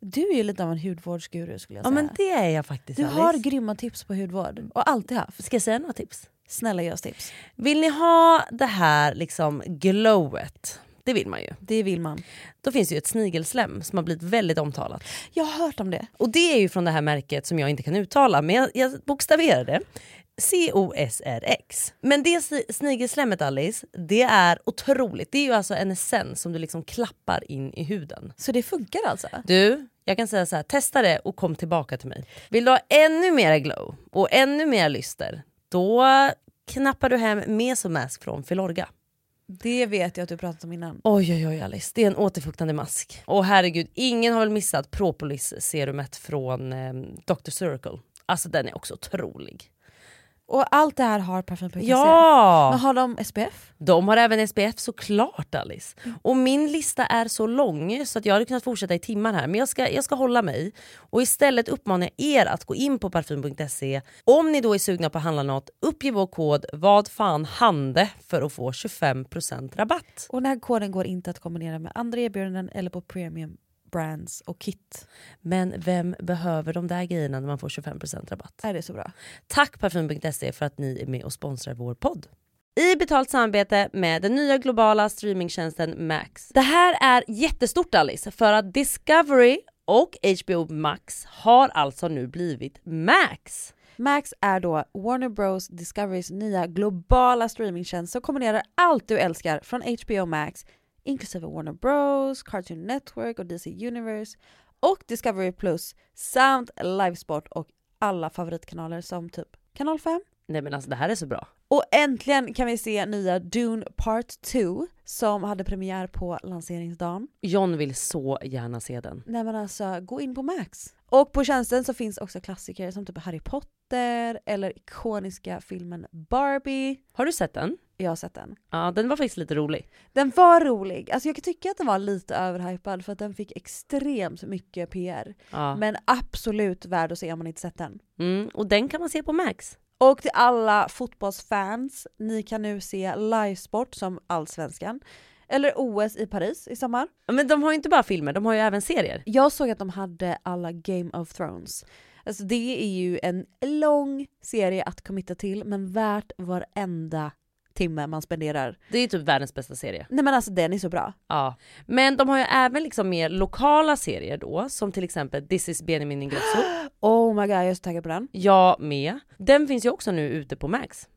Speaker 8: Du är ju lite av en hudvårdsguru skulle jag
Speaker 1: Ja
Speaker 8: säga.
Speaker 1: men det är jag faktiskt
Speaker 8: du
Speaker 1: Alice.
Speaker 8: har grymma tips på hudvård och alltid haft.
Speaker 1: Ska jag säga några tips?
Speaker 8: Snälla ge oss tips.
Speaker 1: Vill ni ha det här liksom glowet? Det vill man ju.
Speaker 8: Det vill man.
Speaker 1: Då finns det ju ett snigelslem som har blivit väldigt omtalat.
Speaker 8: Jag har hört om det.
Speaker 1: Och det är ju från det här märket som jag inte kan uttala, men jag, jag bokstaverar det. COSRX. Men det si- snigelslemmet Alice, det är otroligt. Det är ju alltså en essens som du liksom klappar in i huden.
Speaker 8: Så det funkar alltså?
Speaker 1: Du, jag kan säga så här, testa det och kom tillbaka till mig. Vill du ha ännu mer glow och ännu mer lyster, då knappar du hem Mesomask från Filorga.
Speaker 8: Det vet jag att du pratat om innan.
Speaker 1: Oj oj oj Alice, det är en återfuktande mask. Och herregud, ingen har väl missat Propolis-serumet från eh, Dr. Circle. Alltså den är också otrolig.
Speaker 8: Och allt det här har parfym.se? Men
Speaker 1: Ja!
Speaker 8: har de SPF?
Speaker 1: De har även SPF såklart Alice. Och min lista är så lång så att jag hade kunnat fortsätta i timmar här. Men jag ska, jag ska hålla mig. Och istället uppmanar jag er att gå in på parfym.se. Om ni då är sugna på att handla något, uppge vår kod vad fan hande för att få 25% rabatt.
Speaker 8: Och den här koden går inte att kombinera med andra erbjudanden eller på premium brands och kit.
Speaker 1: Men vem behöver de där grejerna när man får 25% rabatt?
Speaker 8: Är det så bra?
Speaker 1: Tack Parfym.se för att ni är med och sponsrar vår podd. I betalt samarbete med den nya globala streamingtjänsten Max. Det här är jättestort Alice, för att Discovery och HBO Max har alltså nu blivit Max.
Speaker 8: Max är då Warner Bros Discoverys nya globala streamingtjänst som kombinerar allt du älskar från HBO Max inklusive Warner Bros, Cartoon Network och DC Universe och Discovery Plus samt livesport och alla favoritkanaler som typ kanal 5.
Speaker 1: Nej men alltså det här är så bra.
Speaker 8: Och äntligen kan vi se nya Dune Part 2 som hade premiär på lanseringsdagen.
Speaker 1: John vill så gärna se den.
Speaker 8: Nej men alltså, gå in på Max. Och på tjänsten så finns också klassiker som typ Harry Potter eller ikoniska filmen Barbie.
Speaker 1: Har du sett den?
Speaker 8: Jag har sett den.
Speaker 1: Ja den var faktiskt lite rolig.
Speaker 8: Den var rolig. Alltså jag kan tycka att den var lite överhypad för att den fick extremt mycket PR.
Speaker 1: Ja.
Speaker 8: Men absolut värd att se om man inte sett den.
Speaker 1: Mm, och den kan man se på Max.
Speaker 8: Och till alla fotbollsfans, ni kan nu se livesport som Allsvenskan. Eller OS i Paris i sommar.
Speaker 1: Men de har ju inte bara filmer, de har ju även serier.
Speaker 8: Jag såg att de hade alla Game of Thrones. Alltså det är ju en lång serie att committa till men värt varenda timme man spenderar.
Speaker 1: Det är ju typ världens bästa serie.
Speaker 8: Nej men alltså den är så bra.
Speaker 1: Ja. Men de har ju även liksom mer lokala serier då, som till exempel This is Benjamin Ingrosso. [gasps]
Speaker 8: Oh my god jag är så taggad på den.
Speaker 1: Jag med. Den finns ju också nu ute på Max.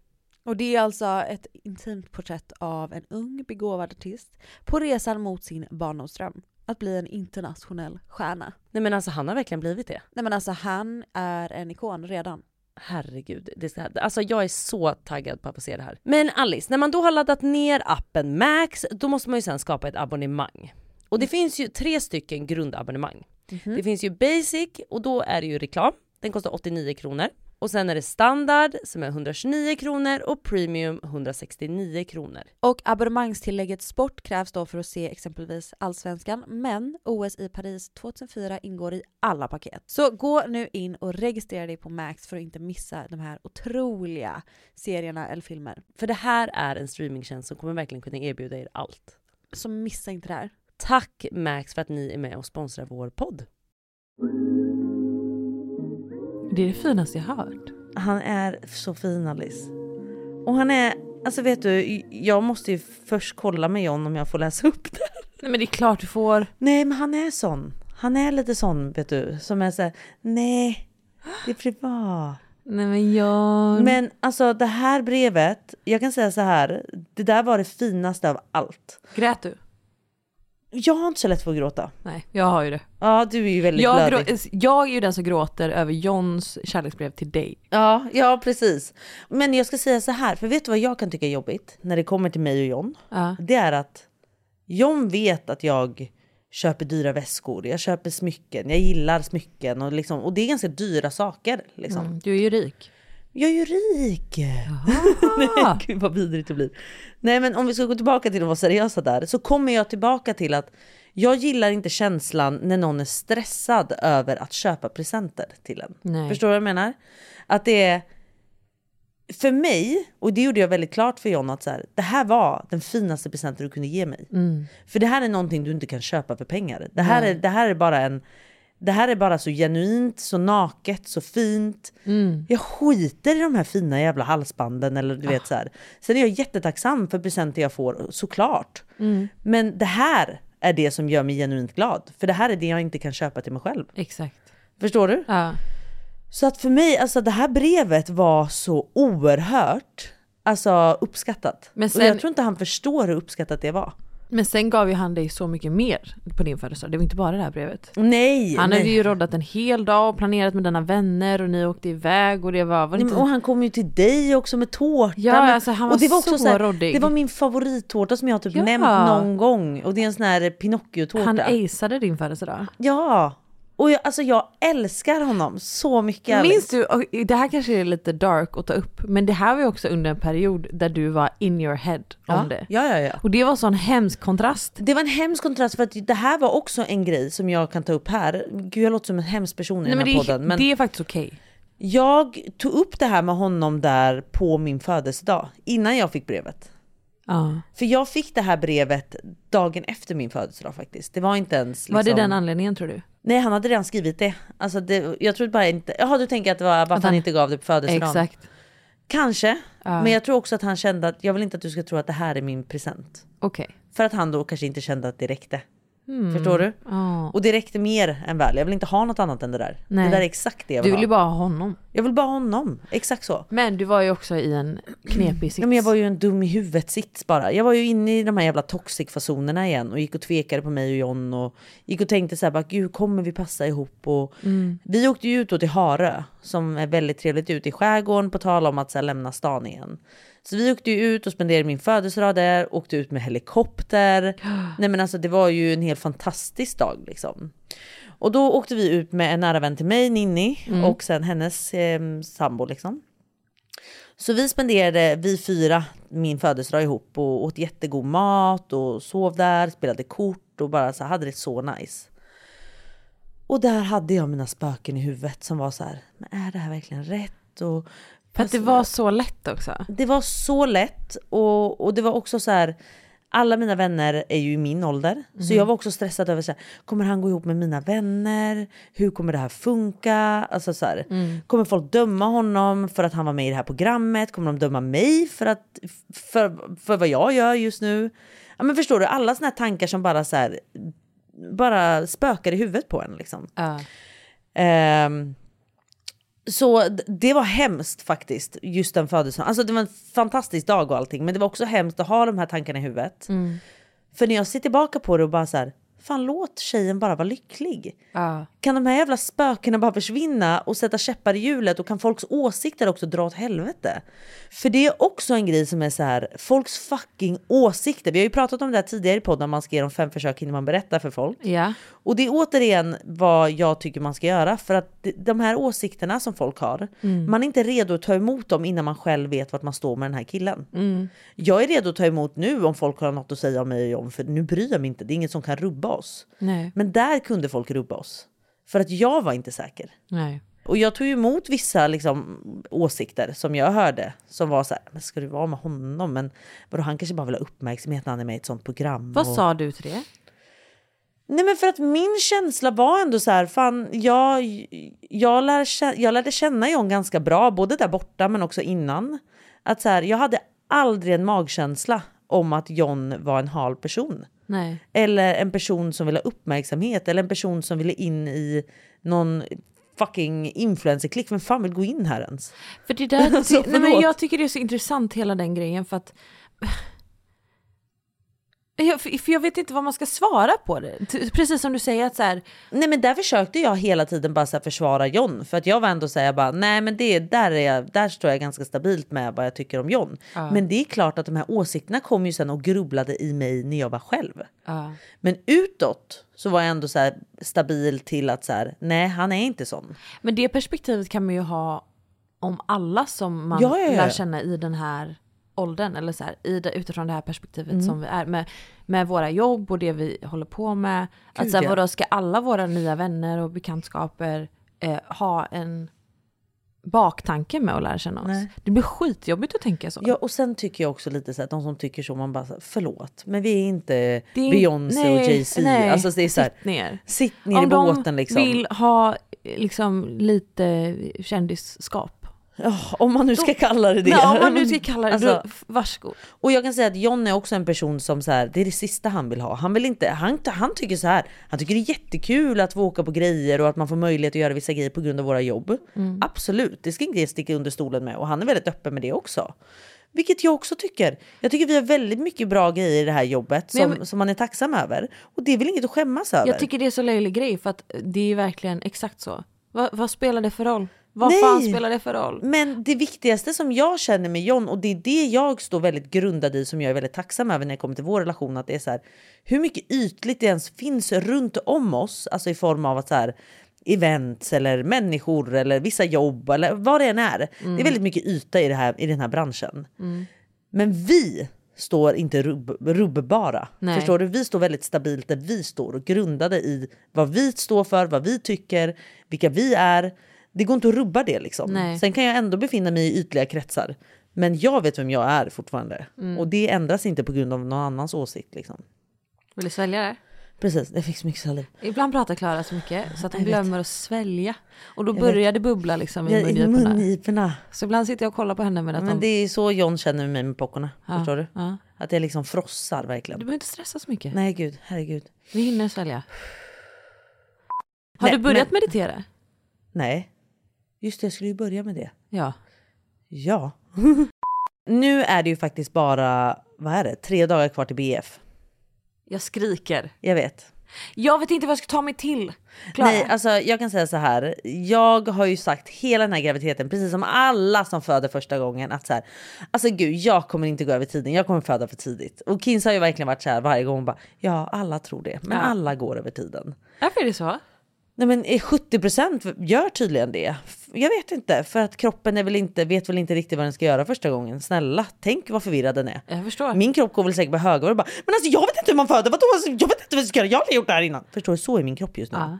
Speaker 8: Och det är alltså ett intimt porträtt av en ung begåvad artist på resan mot sin barndomsdröm. Att bli en internationell stjärna.
Speaker 1: Nej men alltså han har verkligen blivit det.
Speaker 8: Nej men alltså han är en ikon redan.
Speaker 1: Herregud, det ska, alltså jag är så taggad på att få se det här. Men Alice, när man då har laddat ner appen Max, då måste man ju sen skapa ett abonnemang. Och det finns ju tre stycken grundabonnemang. Det finns ju Basic och då är det ju reklam. Den kostar 89 kronor. Och sen är det standard som är 129 kronor och premium 169 kronor.
Speaker 12: Och abonnemangstillägget sport krävs då för att se exempelvis Allsvenskan, men OS i Paris 2004 ingår i alla paket. Så gå nu in och registrera dig på Max för att inte missa de här otroliga serierna eller filmer.
Speaker 1: För det här är en streamingtjänst som kommer verkligen kunna erbjuda er allt.
Speaker 12: Så missa inte det här.
Speaker 1: Tack Max för att ni är med och sponsrar vår podd.
Speaker 2: Det är det finaste jag hört.
Speaker 1: Han är så fin Alice. Och han är, alltså vet du, jag måste ju först kolla med John om jag får läsa upp det.
Speaker 2: Nej men det är klart du får.
Speaker 1: Nej men han är sån. Han är lite sån vet du, som är såhär, nej, det är privat.
Speaker 2: Nej men jag...
Speaker 1: Men alltså det här brevet, jag kan säga så här, det där var det finaste av allt.
Speaker 2: Grät du?
Speaker 1: Jag har inte så lätt för att gråta.
Speaker 2: Nej, jag har ju det.
Speaker 1: Ja, du är ju väldigt
Speaker 2: jag,
Speaker 1: blödig.
Speaker 2: grå- jag är ju den som gråter över Johns kärleksbrev till dig.
Speaker 1: Ja, ja, precis. Men jag ska säga så här, för vet du vad jag kan tycka är jobbigt när det kommer till mig och John? Det är att John vet att jag köper dyra väskor, jag köper smycken, jag gillar smycken och, liksom, och det är ganska dyra saker. Liksom.
Speaker 2: Mm, du är ju rik.
Speaker 1: Jag är ju rik! [laughs] Nej, gud vad vidrigt det blir. Nej men om vi ska gå tillbaka till att vara seriösa där så kommer jag tillbaka till att jag gillar inte känslan när någon är stressad över att köpa presenter till en.
Speaker 2: Nej.
Speaker 1: Förstår du vad jag menar? Att det är för mig, och det gjorde jag väldigt klart för John, att så här, det här var den finaste presenten du kunde ge mig.
Speaker 2: Mm.
Speaker 1: För det här är någonting du inte kan köpa för pengar. Det här,
Speaker 2: Nej.
Speaker 1: är, det här är bara en... Det här är bara så genuint, så naket, så fint.
Speaker 2: Mm. Ah.
Speaker 1: Jag skiter i de här fina jävla halsbanden eller du vet så här. Sen är jag jättetacksam för presenter jag får, såklart.
Speaker 2: Mm.
Speaker 1: Men det här är det som gör mig genuint glad. För det här är det jag inte kan köpa till mig själv.
Speaker 2: Exakt.
Speaker 1: Förstår du?
Speaker 2: Ja.
Speaker 1: Så att för mig, alltså det här brevet var så oerhört alltså, uppskattat.
Speaker 2: Men
Speaker 1: Och
Speaker 2: sen-
Speaker 1: jag tror inte han förstår hur uppskattat det var.
Speaker 2: Men sen gav ju han dig så mycket mer på din födelsedag. Det var inte bara det här brevet.
Speaker 1: Nej!
Speaker 2: Han hade
Speaker 1: nej.
Speaker 2: ju roddat en hel dag och planerat med dina vänner och ni åkte iväg och det var... var det
Speaker 1: Nej, men, och han kom ju till dig också med tårta.
Speaker 2: Ja,
Speaker 1: men,
Speaker 2: alltså, han
Speaker 1: och
Speaker 2: var så
Speaker 1: här,
Speaker 2: råddig.
Speaker 1: Det var min favorittårta som jag typ
Speaker 2: Ja.
Speaker 1: nämnt någon gång. Och det är en sån här Pinocchio-tårta.
Speaker 2: Han aceade din födelsedag.
Speaker 1: Ja! Och jag, alltså jag älskar honom så mycket. Alice.
Speaker 2: Minns du, och det här kanske är lite dark att ta upp, men det här var ju också under en period där du var in your head
Speaker 1: Ja.
Speaker 2: om det.
Speaker 1: Ja, ja, ja.
Speaker 2: Och det var sån hemsk kontrast.
Speaker 1: Det var en hemsk kontrast för att det här var också en grej som jag kan ta upp här. Gud jag låter som en hemsk person i
Speaker 2: Nej,
Speaker 1: den
Speaker 2: men
Speaker 1: här
Speaker 2: det, är-
Speaker 1: podden. Men
Speaker 2: det är faktiskt okej.
Speaker 1: Jag tog upp det här med honom där på min födelsedag. Innan jag fick brevet.
Speaker 2: Ja.
Speaker 1: För jag fick det här brevet dagen efter min födelsedag faktiskt. Det var inte ens liksom...
Speaker 2: Var det den anledningen tror du?
Speaker 1: Nej han hade redan skrivit det. Alltså det jag tror bara inte... Jaha du tänker att det var varför
Speaker 2: Att
Speaker 1: han
Speaker 2: han-
Speaker 1: inte gav det på födelsedagen?
Speaker 2: Exakt.
Speaker 1: Kanske.
Speaker 2: Ja.
Speaker 1: Men jag tror också att han kände att jag vill inte att du ska tro att det här är min present.
Speaker 2: Okej.
Speaker 1: För att han då kanske inte kände att det räckte.
Speaker 2: Mm.
Speaker 1: Förstår du?
Speaker 2: Ja.
Speaker 1: Och det räckte mer än väl. Jag vill inte ha något annat än det där.
Speaker 2: Nej.
Speaker 1: Det där är exakt det jag
Speaker 2: Du
Speaker 1: vill
Speaker 2: vill ju
Speaker 1: ha.
Speaker 2: bara ha honom.
Speaker 1: Jag vill bara ha honom. Exakt så.
Speaker 2: Men du var ju också i en knepig sits.
Speaker 1: Ja, men jag var ju en dum i huvudet sits bara. Jag var ju inne i de här jävla toxic-fasonerna igen och gick och tvekade på mig och John och gick och tänkte så här bara, gud kommer vi passa ihop? Och
Speaker 2: Mm.
Speaker 1: Vi åkte ju ut då till Harö som är väldigt trevligt ute i skärgården på tal om att så här, lämna stan igen. Så vi åkte ju ut och spenderade min födelsedag där, åkte ut med helikopter. Nej men alltså det var ju en helt fantastisk dag liksom. Och då åkte vi ut med en nära vän till mig, Ninni,
Speaker 12: Mm.
Speaker 1: och sen hennes eh, sambo liksom. Så vi spenderade, vi fyra, min födelsedag ihop och åt jättegod mat och sov där, spelade kort och bara så här, hade det så nice. Och där hade jag mina spöken i huvudet som var så här, men är det här verkligen rätt? Och,
Speaker 2: För att det var så lätt också.
Speaker 1: det var så lätt och, och det var också så här. Alla mina vänner är ju i min ålder, så
Speaker 12: Mhm.
Speaker 1: jag var också stressad över så här, kommer han gå ihop med mina vänner? Hur kommer det här funka? Alltså så här,
Speaker 12: Mm.
Speaker 1: Kommer folk döma honom för att han var med i det här programmet? Kommer de döma mig för, att, för, för vad jag gör just nu? Ja, men förstår du, alla såna här tankar som bara, så här, bara spökar i huvudet på en. Liksom. Ehm, så d- det var hemskt faktiskt, just den födelsen. Alltså det var en fantastisk dag och allting, men det var också hemskt att ha de här tankarna i huvudet. För när jag ser tillbaka på det och bara så här, fan låt tjejen bara vara lycklig.
Speaker 2: Ja.
Speaker 1: Kan de här jävla spökena bara försvinna och sätta käppar i hjulet och kan folks åsikter också dra åt helvete? För det är också en grej som är så här, folks fucking åsikter. Vi har ju pratat om det här tidigare i podden, man ska ge dem fem försök innan man berättar för folk.
Speaker 2: Ja.
Speaker 1: Och det är återigen vad jag tycker man ska göra för att d- de här åsikterna som folk har,
Speaker 2: Mm.
Speaker 1: man är inte redo att ta emot dem innan man själv vet vart man står med den här killen.
Speaker 2: Mm.
Speaker 1: Jag är redo att ta emot nu om folk har något att säga om mig och John, för nu bryr jag mig inte. Det är inget som kan rubba oss.
Speaker 2: Nej.
Speaker 1: Men där kunde folk rubba oss. För att jag var inte säker.
Speaker 2: Nej.
Speaker 1: Och jag tog ju emot vissa liksom, åsikter som jag hörde. Som var så här, men ska du vara med honom? Men vadå, han kanske bara vill ha uppmärksamhet när han är med i ett sånt program.
Speaker 2: Vad
Speaker 1: och...
Speaker 2: sa du till det?
Speaker 1: Nej men för att min känsla var ändå så här, fan jag, jag, lär, kä- jag lärde känna John ganska bra, både där borta men också innan. Att så här, jag hade aldrig en magkänsla om att John var en hal person.
Speaker 2: Nej.
Speaker 1: Eller en person som ville ha uppmärksamhet eller en person som ville in i någon fucking influencerklick. Vem fan vill gå in här ens?
Speaker 2: För det
Speaker 1: [laughs]
Speaker 2: där,
Speaker 1: Alltså,
Speaker 2: nej, men
Speaker 1: förlåt.
Speaker 2: jag tycker det är så intressant hela den grejen för att [laughs] jag, för för jag vet inte vad man ska svara på det. T- Precis som du säger att så här,
Speaker 1: Nej men där försökte jag hela tiden bara så här försvara John. För att jag var ändå så här, jag bara, nej men det, där, är jag, där står jag ganska stabilt med vad jag tycker om John.
Speaker 2: Ja.
Speaker 1: Men det är klart att de här åsikterna kom ju sen och grubblade i mig när jag var själv.
Speaker 2: ja.
Speaker 1: Men utåt så var jag ändå så här stabil till att så här, nej han är inte sån.
Speaker 2: men det perspektivet kan man ju ha om alla som man
Speaker 1: Ja, ja, ja.
Speaker 2: lär känna i den här åldern eller så här, i det, utifrån det här perspektivet
Speaker 1: Mm.
Speaker 2: som vi är med, med våra jobb och det vi håller på med.
Speaker 1: Gud,
Speaker 2: att så här,
Speaker 1: ja.
Speaker 2: vadå, ska alla våra nya vänner och bekantskaper eh, ha en baktanke med att lära känna oss?
Speaker 1: Nej.
Speaker 2: Det blir skitjobbigt att tänka så.
Speaker 1: Ja och sen tycker jag också lite så här, att de som tycker så, man bara så här, förlåt men vi är inte
Speaker 2: Det är-
Speaker 1: Beyoncé
Speaker 2: nej,
Speaker 1: och Jay-Z.
Speaker 2: nej.
Speaker 1: Alltså det är så här,
Speaker 2: Sitt ner.
Speaker 1: Sitt ner i
Speaker 2: Om de
Speaker 1: båten liksom.
Speaker 2: vill ha eh, liksom lite kändisskap.
Speaker 1: Ja, om man nu ska kalla det det.
Speaker 2: Ja, om man nu ska kalla det
Speaker 1: Alltså-
Speaker 2: då, f- Varsågod.
Speaker 1: Och jag kan säga att John är också en person som så här, det är det sista han vill ha. Han vill inte, han, han tycker så här, han tycker det är jättekul att få åka på grejer och att man får möjlighet att göra vissa grejer på grund av våra jobb.
Speaker 2: Mm.
Speaker 1: Absolut, det ska inte jag sticka under stolen med och han är väldigt öppen med det också. Vilket jag också tycker. Jag tycker vi har väldigt mycket bra grejer i det här jobbet
Speaker 2: Men jag
Speaker 1: som, som man är tacksam över. Och det är väl inget att skämmas över.
Speaker 2: Jag tycker det är så löjlig grej för att det är ju verkligen exakt så. Va, vad spelar det för roll? Vad
Speaker 1: Nej.
Speaker 2: fan spelar det för roll?
Speaker 1: Men det viktigaste som jag känner med John och det är det jag står väldigt grundad i som jag är väldigt tacksam över när jag kommer till vår relation att det är så här hur mycket ytligt det ens finns runt om oss, alltså i form av att så här events eller människor eller vissa jobb eller vad det än är.
Speaker 2: Mm.
Speaker 1: Det är väldigt mycket yta i, det här, i den här branschen. Men vi står inte rubb, rubbbara.
Speaker 2: Nej.
Speaker 1: Förstår du? Vi står väldigt stabilt där vi står och grundade i vad vi står för, vad vi tycker, vilka vi är. Det går inte att rubba det liksom.
Speaker 2: Nej.
Speaker 1: Sen kan jag ändå befinna mig i ytliga kretsar. Men jag vet vem jag är fortfarande.
Speaker 2: Mm.
Speaker 1: Och det ändras inte på grund av någon annans åsikt. Liksom.
Speaker 2: Vill du svälja det?
Speaker 1: Precis, det fick så mycket saliv.
Speaker 2: Ibland pratar Klara så mycket så att hon
Speaker 1: Jag vet.
Speaker 2: glömmer att svälja. Och då
Speaker 1: Jag
Speaker 2: börjar
Speaker 1: vet.
Speaker 2: det bubbla liksom
Speaker 1: Ja,
Speaker 2: i
Speaker 1: i
Speaker 2: mungiporna.
Speaker 1: mungiporna.
Speaker 2: Så ibland sitter jag och kollar på henne medan
Speaker 1: Men
Speaker 2: hon...
Speaker 1: det är så John känner med mig med pockorna.
Speaker 2: Ja,
Speaker 1: Förstår du?
Speaker 2: ja.
Speaker 1: Att jag liksom frossar verkligen.
Speaker 2: Du behöver inte stressa så mycket.
Speaker 1: Nej gud, herregud.
Speaker 2: Vi hinner svälja. Har
Speaker 1: Nej,
Speaker 2: du börjat
Speaker 1: men-
Speaker 2: meditera?
Speaker 1: Nej. Just det, jag skulle ju börja med det.
Speaker 2: Ja.
Speaker 1: Ja. [laughs] nu är det ju faktiskt bara, vad är det, tre dagar kvar till BF.
Speaker 2: Jag skriker.
Speaker 1: Jag vet.
Speaker 2: Jag vet inte vad jag ska ta mig till. Klara.
Speaker 1: Nej, alltså jag kan säga så här. Jag har ju sagt hela den här graviditeten, precis som alla som föder första gången, att så här, alltså gud, jag kommer inte gå över tiden, jag kommer föda för tidigt. Och Kinsa har ju verkligen varit så här varje gång, hon bara, ja alla tror det, men
Speaker 2: Ja.
Speaker 1: alla går över tiden.
Speaker 2: Varför är det så?
Speaker 1: Nej men eh, 70% gör tydligen det. F- Jag vet inte, för att kroppen är väl inte, vet väl inte riktigt vad den ska göra första gången. Snälla, tänk vad förvirrad den är.
Speaker 2: Jag förstår.
Speaker 1: Min kropp går väl säkert på högvarv och bara “men alltså jag vet inte hur man föder, vadå? Alltså, jag vet inte vad jag ska göra, jag har aldrig gjort det här innan”. Förstår du? Så är min kropp just nu.
Speaker 2: Ja.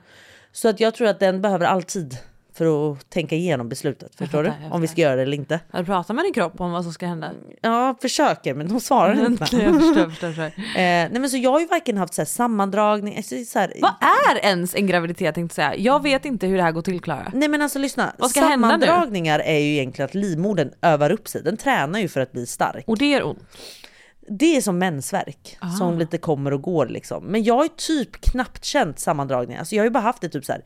Speaker 1: Så att jag tror att den behöver all tid för att tänka igenom beslutet. Förstår
Speaker 2: fattar, jag
Speaker 1: du? Om vi ska göra det eller inte.
Speaker 2: Har du pratat med din kropp om vad som ska hända?
Speaker 1: Ja, försöker men de svarar inte.
Speaker 2: [laughs] Nej, jag förstår, jag förstår, jag förstår.
Speaker 1: Eh, nej men så jag har ju varken haft så här sammandragning, alltså, så här,
Speaker 2: Vad är ens en graviditet tänkte jag säga? Jag vet inte hur det här går till Klara.
Speaker 1: Nej men alltså lyssna,
Speaker 2: Vad ska hända nu?
Speaker 1: sammandragningar är ju egentligen att livmodern övar upp sig. Den tränar ju för att bli stark.
Speaker 2: Och det gör ont?
Speaker 1: Det är som mensvärk
Speaker 2: Ah.
Speaker 1: som lite kommer och går liksom. Men jag har ju typ knappt känt sammandragningar. Alltså jag har ju bara haft det typ så här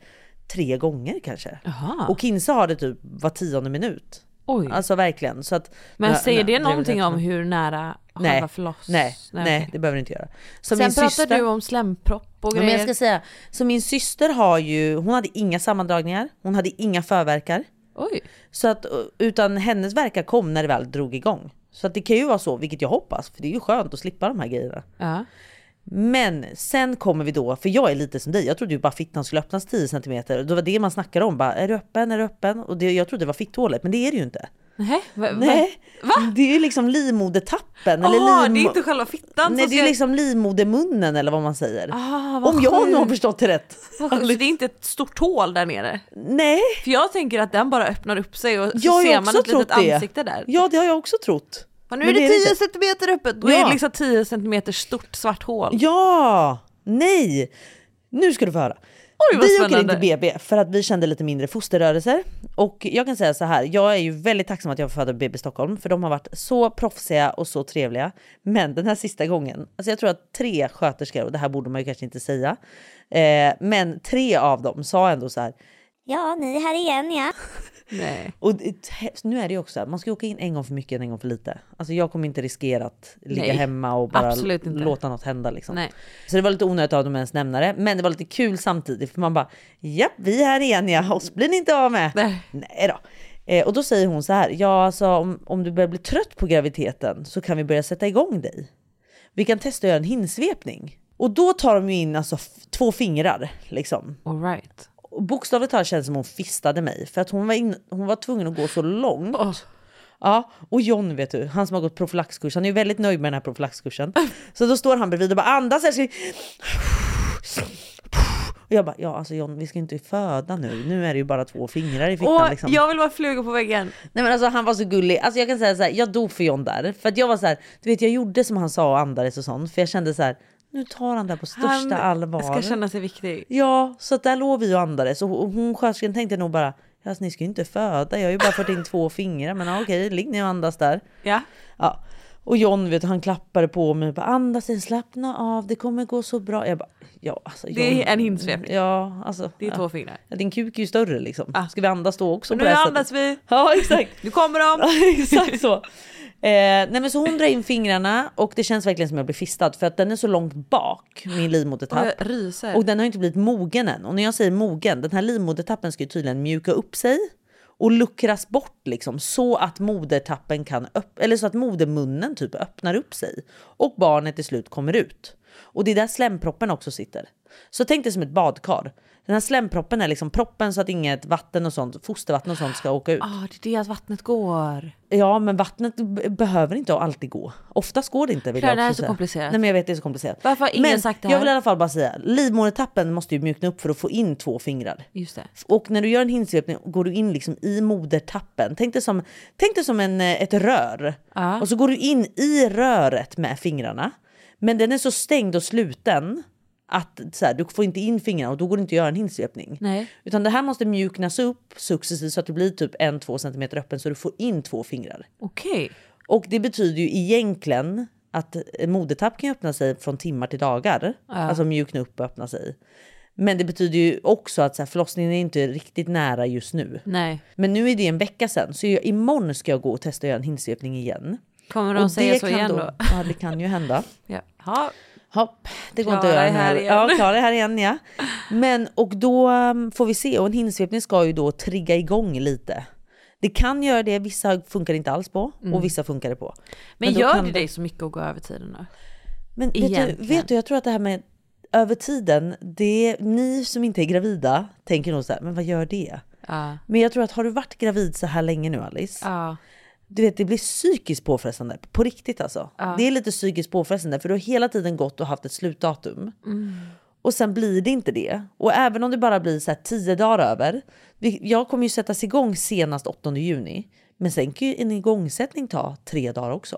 Speaker 1: tre gånger kanske.
Speaker 2: Jaha.
Speaker 1: Och Kinsa har det typ var tionde minut.
Speaker 2: Oj.
Speaker 1: Alltså verkligen. Så att,
Speaker 2: Men
Speaker 1: Ja,
Speaker 2: säger
Speaker 1: nej,
Speaker 2: det
Speaker 1: är väl
Speaker 2: någonting
Speaker 1: rätt.
Speaker 2: om hur nära själva förloss?
Speaker 1: Nej, nej,
Speaker 2: Nej, okej.
Speaker 1: det behöver du inte göra.
Speaker 2: Sen pratar du om slämpropp och
Speaker 1: Ja, men
Speaker 2: grejer.
Speaker 1: jag ska säga, så min syster har ju, hon hade inga sammandragningar, hon hade inga förverkar.
Speaker 2: Oj.
Speaker 1: Så att, eh, utan hennes verkar kom när det väl drog igång. Så att det kan ju vara så, vilket jag hoppas, för det är ju skönt att slippa de här grejerna. Men sen kommer vi då, för jag är lite som dig, jag trodde ju bara fittan skulle öppnas 10 cm. Det var det man snackade om, bara är du öppen, är du öppen? Och det, jag trodde det var fitthålet, men det är det ju inte.
Speaker 2: Nej, va, va?
Speaker 1: Nej, det är ju liksom livmodertappen. eller
Speaker 2: Aha,
Speaker 1: livmo-
Speaker 2: det är inte själva fittan
Speaker 1: Nej,
Speaker 2: som
Speaker 1: det är
Speaker 2: ska-
Speaker 1: liksom livmodermunnen eller vad man säger.
Speaker 2: Ah, vad
Speaker 1: Om jag nu har
Speaker 2: sjukt.
Speaker 1: förstått det rätt.
Speaker 2: Vad sjukt, Så det är inte ett stort hål där nere?
Speaker 1: Nej.
Speaker 2: För jag tänker att den bara öppnar upp sig och så
Speaker 1: Jag har ju
Speaker 2: ser man
Speaker 1: också
Speaker 2: ett litet
Speaker 1: trott det.
Speaker 2: ansikte där.
Speaker 1: Ja, det har jag också trott.
Speaker 2: Men nu
Speaker 1: Men
Speaker 2: är det
Speaker 1: det är det
Speaker 2: 10
Speaker 1: inte.
Speaker 2: centimeter öppet, då
Speaker 1: Ja.
Speaker 2: är det liksom 10 centimeter stort svart hål.
Speaker 1: Ja! Nej! Nu ska du få höra.
Speaker 2: Oj, vad
Speaker 1: vi åker in
Speaker 2: spännande.
Speaker 1: till BB för att vi kände lite mindre fosterrörelser. Och jag kan säga så här, jag är ju väldigt tacksam att jag födde BB Stockholm för de har varit så proffsiga och så trevliga. Men den här sista gången, alltså jag tror att tre sköterskor, och det här borde man ju kanske inte säga, eh, men tre av dem sa ändå så här,
Speaker 3: Ja, ni är här igen ja.
Speaker 2: Nej.
Speaker 1: och det- nu är det ju också, man ska ju åka in en gång för mycket än en gång för lite. Alltså jag kommer inte riskera att ligga
Speaker 2: Nej,
Speaker 1: hemma och bara
Speaker 2: absolut inte.
Speaker 1: låta något hända liksom.
Speaker 2: Nej.
Speaker 1: Så det var lite onödigt av dem ens nämna det, men det var lite kul samtidigt för man bara, japp vi är här igen ja, oss blir ni inte av med. Nej, då. Eh, och då säger hon så här, ja alltså om, om du börjar bli trött på graviditeten så kan vi börja sätta igång dig. Vi kan testa att göra en hinsvepning. Och då tar de ju in alltså f- två fingrar liksom.
Speaker 2: All right.
Speaker 1: Och bokstavligt talat känns det som hon fistade mig för att hon var, in, hon var tvungen att gå så långt. Ja, och John vet du, han som har gått profylaxkurs, han är ju väldigt nöjd med den här
Speaker 2: [laughs]
Speaker 1: profylaxkursen. Så då står han bredvid och bara andas älskling. Och jag bara, ja alltså John vi ska ju inte föda nu, nu är det ju bara två fingrar i fickan
Speaker 2: Åh,
Speaker 1: liksom.
Speaker 2: jag vill vara fluga på väggen.
Speaker 1: Nej men alltså han var så gullig, alltså jag kan säga så här, jag dog för John där. För att jag var så här, du vet jag gjorde som han sa och andades och sånt, för jag kände så här, nu tar han det här på största
Speaker 2: Han
Speaker 1: allvar.
Speaker 2: ska känna sig viktig.
Speaker 1: Ja, så att där låg vi och andades och hon- hon sköterskan tänkte nog bara Alltså, ni ska ju inte föda, jag har ju bara fått in två fingrar men ja, okej, ligg ni och andas där.
Speaker 2: Ja.
Speaker 1: ja. Och John vet du, han klappade på mig och bara andas in, slappna av, det kommer gå så bra. Jag bara, ja alltså.
Speaker 2: Det är
Speaker 1: John,
Speaker 2: en hinsvepning.
Speaker 1: Ja, alltså.
Speaker 2: Det är
Speaker 1: ja.
Speaker 2: två fingrar.
Speaker 1: Ja, din kuk är ju större liksom. Ska vi andas då också
Speaker 2: Och
Speaker 1: på
Speaker 2: nu
Speaker 1: det här sättet?
Speaker 2: andas vi.
Speaker 1: Ja exakt.
Speaker 2: [laughs] Nu kommer
Speaker 1: [laughs]
Speaker 2: de.
Speaker 1: exakt så. Eh, nej men så hon drar in fingrarna och det känns verkligen som jag blir fistad för att den är så långt bak, min
Speaker 2: Och
Speaker 1: livmodertapp.
Speaker 2: jag ryser.
Speaker 1: Och den har ju inte blivit mogen än. Och när jag säger mogen, den här livmodertappen ska ju tydligen mjuka upp sig och luckras bort liksom så att modertappen kan öpp- eller så att modermunnen typ öppnar upp sig och barnet till slut kommer ut. Och det är där slemproppen också sitter. Så tänk dig som ett badkar. Den här slemproppen är liksom proppen så att inget vatten och sånt, fostervatten och sånt ska åka ut.
Speaker 2: Ah, det är det att vattnet går.
Speaker 1: Ja, men vattnet b- behöver inte alltid gå. Oftast går det inte. Vill
Speaker 2: Klara,
Speaker 1: jag
Speaker 2: det här
Speaker 1: också
Speaker 2: är så
Speaker 1: säga.
Speaker 2: komplicerat.
Speaker 1: Nej, men jag vet det är så komplicerat.
Speaker 2: Varför har ingen
Speaker 1: men
Speaker 2: sagt det
Speaker 1: Jag
Speaker 2: här?
Speaker 1: vill i alla fall bara säga, livmodertappen måste ju mjukna upp för att få in två fingrar.
Speaker 2: Just det.
Speaker 1: Och när du gör en hinsvepning går du in liksom i modertappen. Tänk dig som, tänk dig som en, eh, ett rör. Och så går du in i röret med fingrarna. Men den är så stängd och sluten att så här, du får inte in fingrarna och då går det inte att göra en hinsvepning.
Speaker 2: Nej.
Speaker 1: Utan det här måste mjuknas upp successivt så att du blir typ 1-2 cm öppen så du får in två fingrar.
Speaker 2: Okej.
Speaker 1: Och det betyder ju egentligen att modertapp kan ju öppna sig från timmar till dagar. Alltså mjukna upp och öppna sig. Men det betyder ju också att så här, förlossningen är inte riktigt nära just nu.
Speaker 2: Nej.
Speaker 1: Men nu är det en vecka sen så jag, imorgon ska jag gå och testa att göra en hinsvepning igen.
Speaker 2: Kommer de
Speaker 1: Och
Speaker 2: säga
Speaker 1: det
Speaker 2: så
Speaker 1: kan
Speaker 2: igen då?
Speaker 1: Ja det kan ju hända.
Speaker 2: Ja. Ha.
Speaker 1: Hopp, det går inte att
Speaker 2: Klara
Speaker 1: göra
Speaker 2: är
Speaker 1: den här.
Speaker 2: här igen.
Speaker 1: Ja, Klara är här igen ja. Men och då um, får vi se och en hinsvepning ska ju då trigga igång lite. Det kan göra det, vissa funkar det inte alls på
Speaker 2: Mm.
Speaker 1: och vissa funkar det på.
Speaker 2: Men,
Speaker 1: då
Speaker 2: gör
Speaker 1: kan
Speaker 2: det dig så mycket att gå över tiden nu?
Speaker 1: Men vet du,
Speaker 2: Egentligen.
Speaker 1: vet du, jag tror att det här med över tiden, det, ni som inte är gravida tänker nog så här, men vad gör det?
Speaker 2: Ja.
Speaker 1: Men jag tror att har du varit gravid så här länge nu Alice,
Speaker 2: Ja.
Speaker 1: du vet det blir psykiskt påfrestande, på riktigt alltså.
Speaker 2: Ja.
Speaker 1: Det är lite psykiskt påfrestande för du har hela tiden gått och haft ett slutdatum. Och sen blir det inte det. Och även om det bara blir så här tio dagar över. vi- Jag kommer ju sättas igång senast 8 juni. Men sen kan ju en igångsättning ta tre dagar också.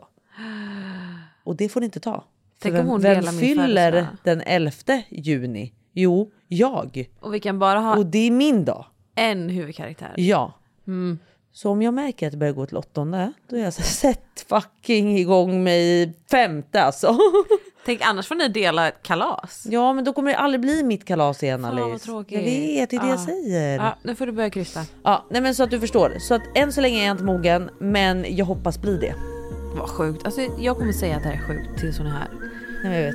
Speaker 1: Och det får det inte ta.
Speaker 2: Tänk
Speaker 1: vem,
Speaker 2: om hon
Speaker 1: vem
Speaker 2: delar min
Speaker 1: fyller
Speaker 2: födelsedag?
Speaker 1: den 11 juni? Jo, jag.
Speaker 2: Och vi kan bara ha
Speaker 1: Och det är min dag.
Speaker 2: en huvudkaraktär.
Speaker 1: Ja.
Speaker 2: Mm.
Speaker 1: Så om jag märker att det börjar gå åt åttonde, då är jag så här, sätt fucking igång mig i femte alltså. [laughs]
Speaker 2: Tänk annars får ni dela ett kalas.
Speaker 1: ja, men då kommer det aldrig bli mitt kalas igen
Speaker 2: Fan vad
Speaker 1: Alice.
Speaker 2: tråkigt.
Speaker 1: Jag vet, det är det jag
Speaker 2: Ja.
Speaker 1: säger.
Speaker 2: Ja, nu får du börja krysta.
Speaker 1: Ja, nej men så att du förstår. Så att än så länge är jag inte mogen, men jag hoppas bli det.
Speaker 2: Vad sjukt. Alltså, jag kommer säga att det här är sjukt tills hon är här.
Speaker 1: Nej, men jag vet.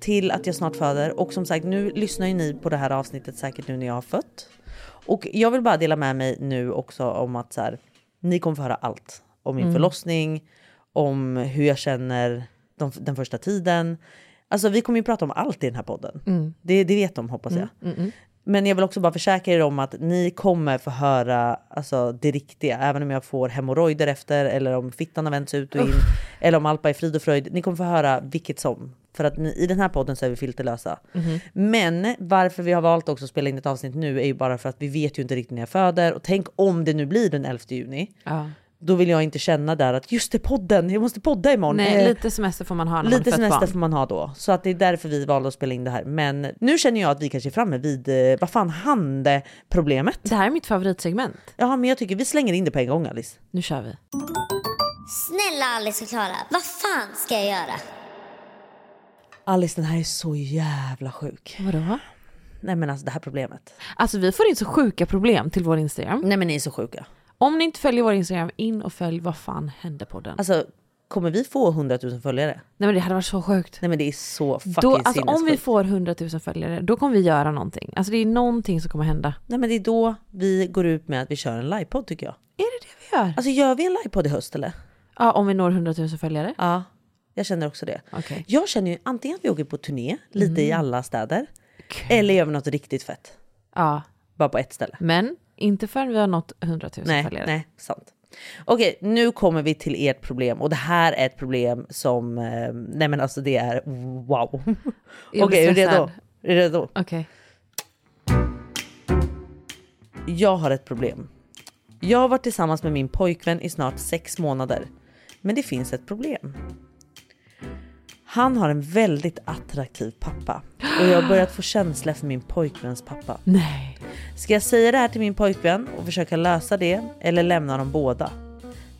Speaker 1: till att jag snart föder och som sagt nu lyssnar ju ni på det här avsnittet säkert nu när jag har fött. Och jag vill bara dela med mig nu också om att så här, ni kommer få höra allt om min
Speaker 12: Mm.
Speaker 1: förlossning, om hur jag känner de, den första tiden. Alltså vi kommer ju prata om allt i den här podden.
Speaker 2: Mm.
Speaker 1: Det, det vet de hoppas jag.
Speaker 2: Mm, mm, mm.
Speaker 1: Men jag vill också bara försäkra er om att ni kommer få höra alltså, det riktiga. Även om jag får hemorrojder efter, eller om fittan har vänts ut och in,
Speaker 12: Uff.
Speaker 1: eller om Alpa är frid och fröjd. Ni kommer få höra vilket som. För att ni, i den här podden så är vi filterlösa.
Speaker 12: Mhm.
Speaker 1: Men varför vi har valt också att spela in ett avsnitt nu är ju bara för att vi vet ju inte riktigt när jag föder. Och tänk om det nu blir den 11 juni.
Speaker 2: Ja.
Speaker 1: Då vill jag inte känna där att just det podden, jag måste podda imorgon.
Speaker 2: Nej,
Speaker 1: Eh,
Speaker 2: lite semester får man ha när
Speaker 1: Lite
Speaker 2: man har fött
Speaker 1: semester
Speaker 2: barn.
Speaker 1: får man ha då. Så att det är därför vi valde att spela in det här. Men nu känner jag att vi kanske är framme vid, eh, vad fan hände problemet? Det
Speaker 2: här är mitt favoritsegment.
Speaker 1: Ja, men jag tycker vi slänger in det på en gång Alice.
Speaker 2: Nu kör vi.
Speaker 3: Snälla Alice och Klara, vad fan ska jag göra?
Speaker 1: Alice den här är så jävla sjuk.
Speaker 2: Vadå?
Speaker 1: Nej men alltså det här problemet.
Speaker 2: Alltså vi får in så sjuka problem till vår Instagram.
Speaker 1: Nej men ni är så sjuka.
Speaker 2: Om ni inte följer vår Instagram, in och följ Vad fan hände på den.
Speaker 1: Alltså kommer vi få 100 000 följare?
Speaker 2: Nej men det hade varit så sjukt.
Speaker 1: Nej men det är så fucking
Speaker 2: då, alltså, om vi
Speaker 1: sinnessjukt.
Speaker 2: får 100 000 följare, då kommer vi göra någonting. Alltså det är någonting som kommer hända.
Speaker 1: Nej men det är då vi går ut med att vi kör en livepodd tycker jag.
Speaker 2: Är det det vi gör?
Speaker 1: Alltså gör vi en livepodd i höst eller?
Speaker 2: Ja, om vi når 100 000 följare.
Speaker 1: Ja, jag känner också det. Jag känner ju antingen att vi åker på turné, lite i
Speaker 2: Mm.
Speaker 1: alla städer. Eller gör vi något riktigt fett.
Speaker 2: Ja.
Speaker 1: Bara på ett ställe.
Speaker 2: Men inte förrän vi har nått 100 000
Speaker 1: Nej,
Speaker 2: följare.
Speaker 1: nej, sant. Okej, nu kommer vi till ert problem. Och det här är ett problem som, eh, nej men alltså det är
Speaker 2: [laughs]
Speaker 1: wow.
Speaker 2: blir
Speaker 1: Okej, är du redo?
Speaker 2: stressad.
Speaker 1: Är du redo?
Speaker 2: Okej.
Speaker 1: Jag har ett problem. Jag har varit tillsammans med min pojkvän i snart sex månader. Men det finns ett problem. Han har en väldigt attraktiv pappa och jag har börjat få känsla för min pojkväns pappa.
Speaker 2: Nej.
Speaker 1: Ska jag säga det här till min pojkvän och försöka lösa det eller lämna dem båda?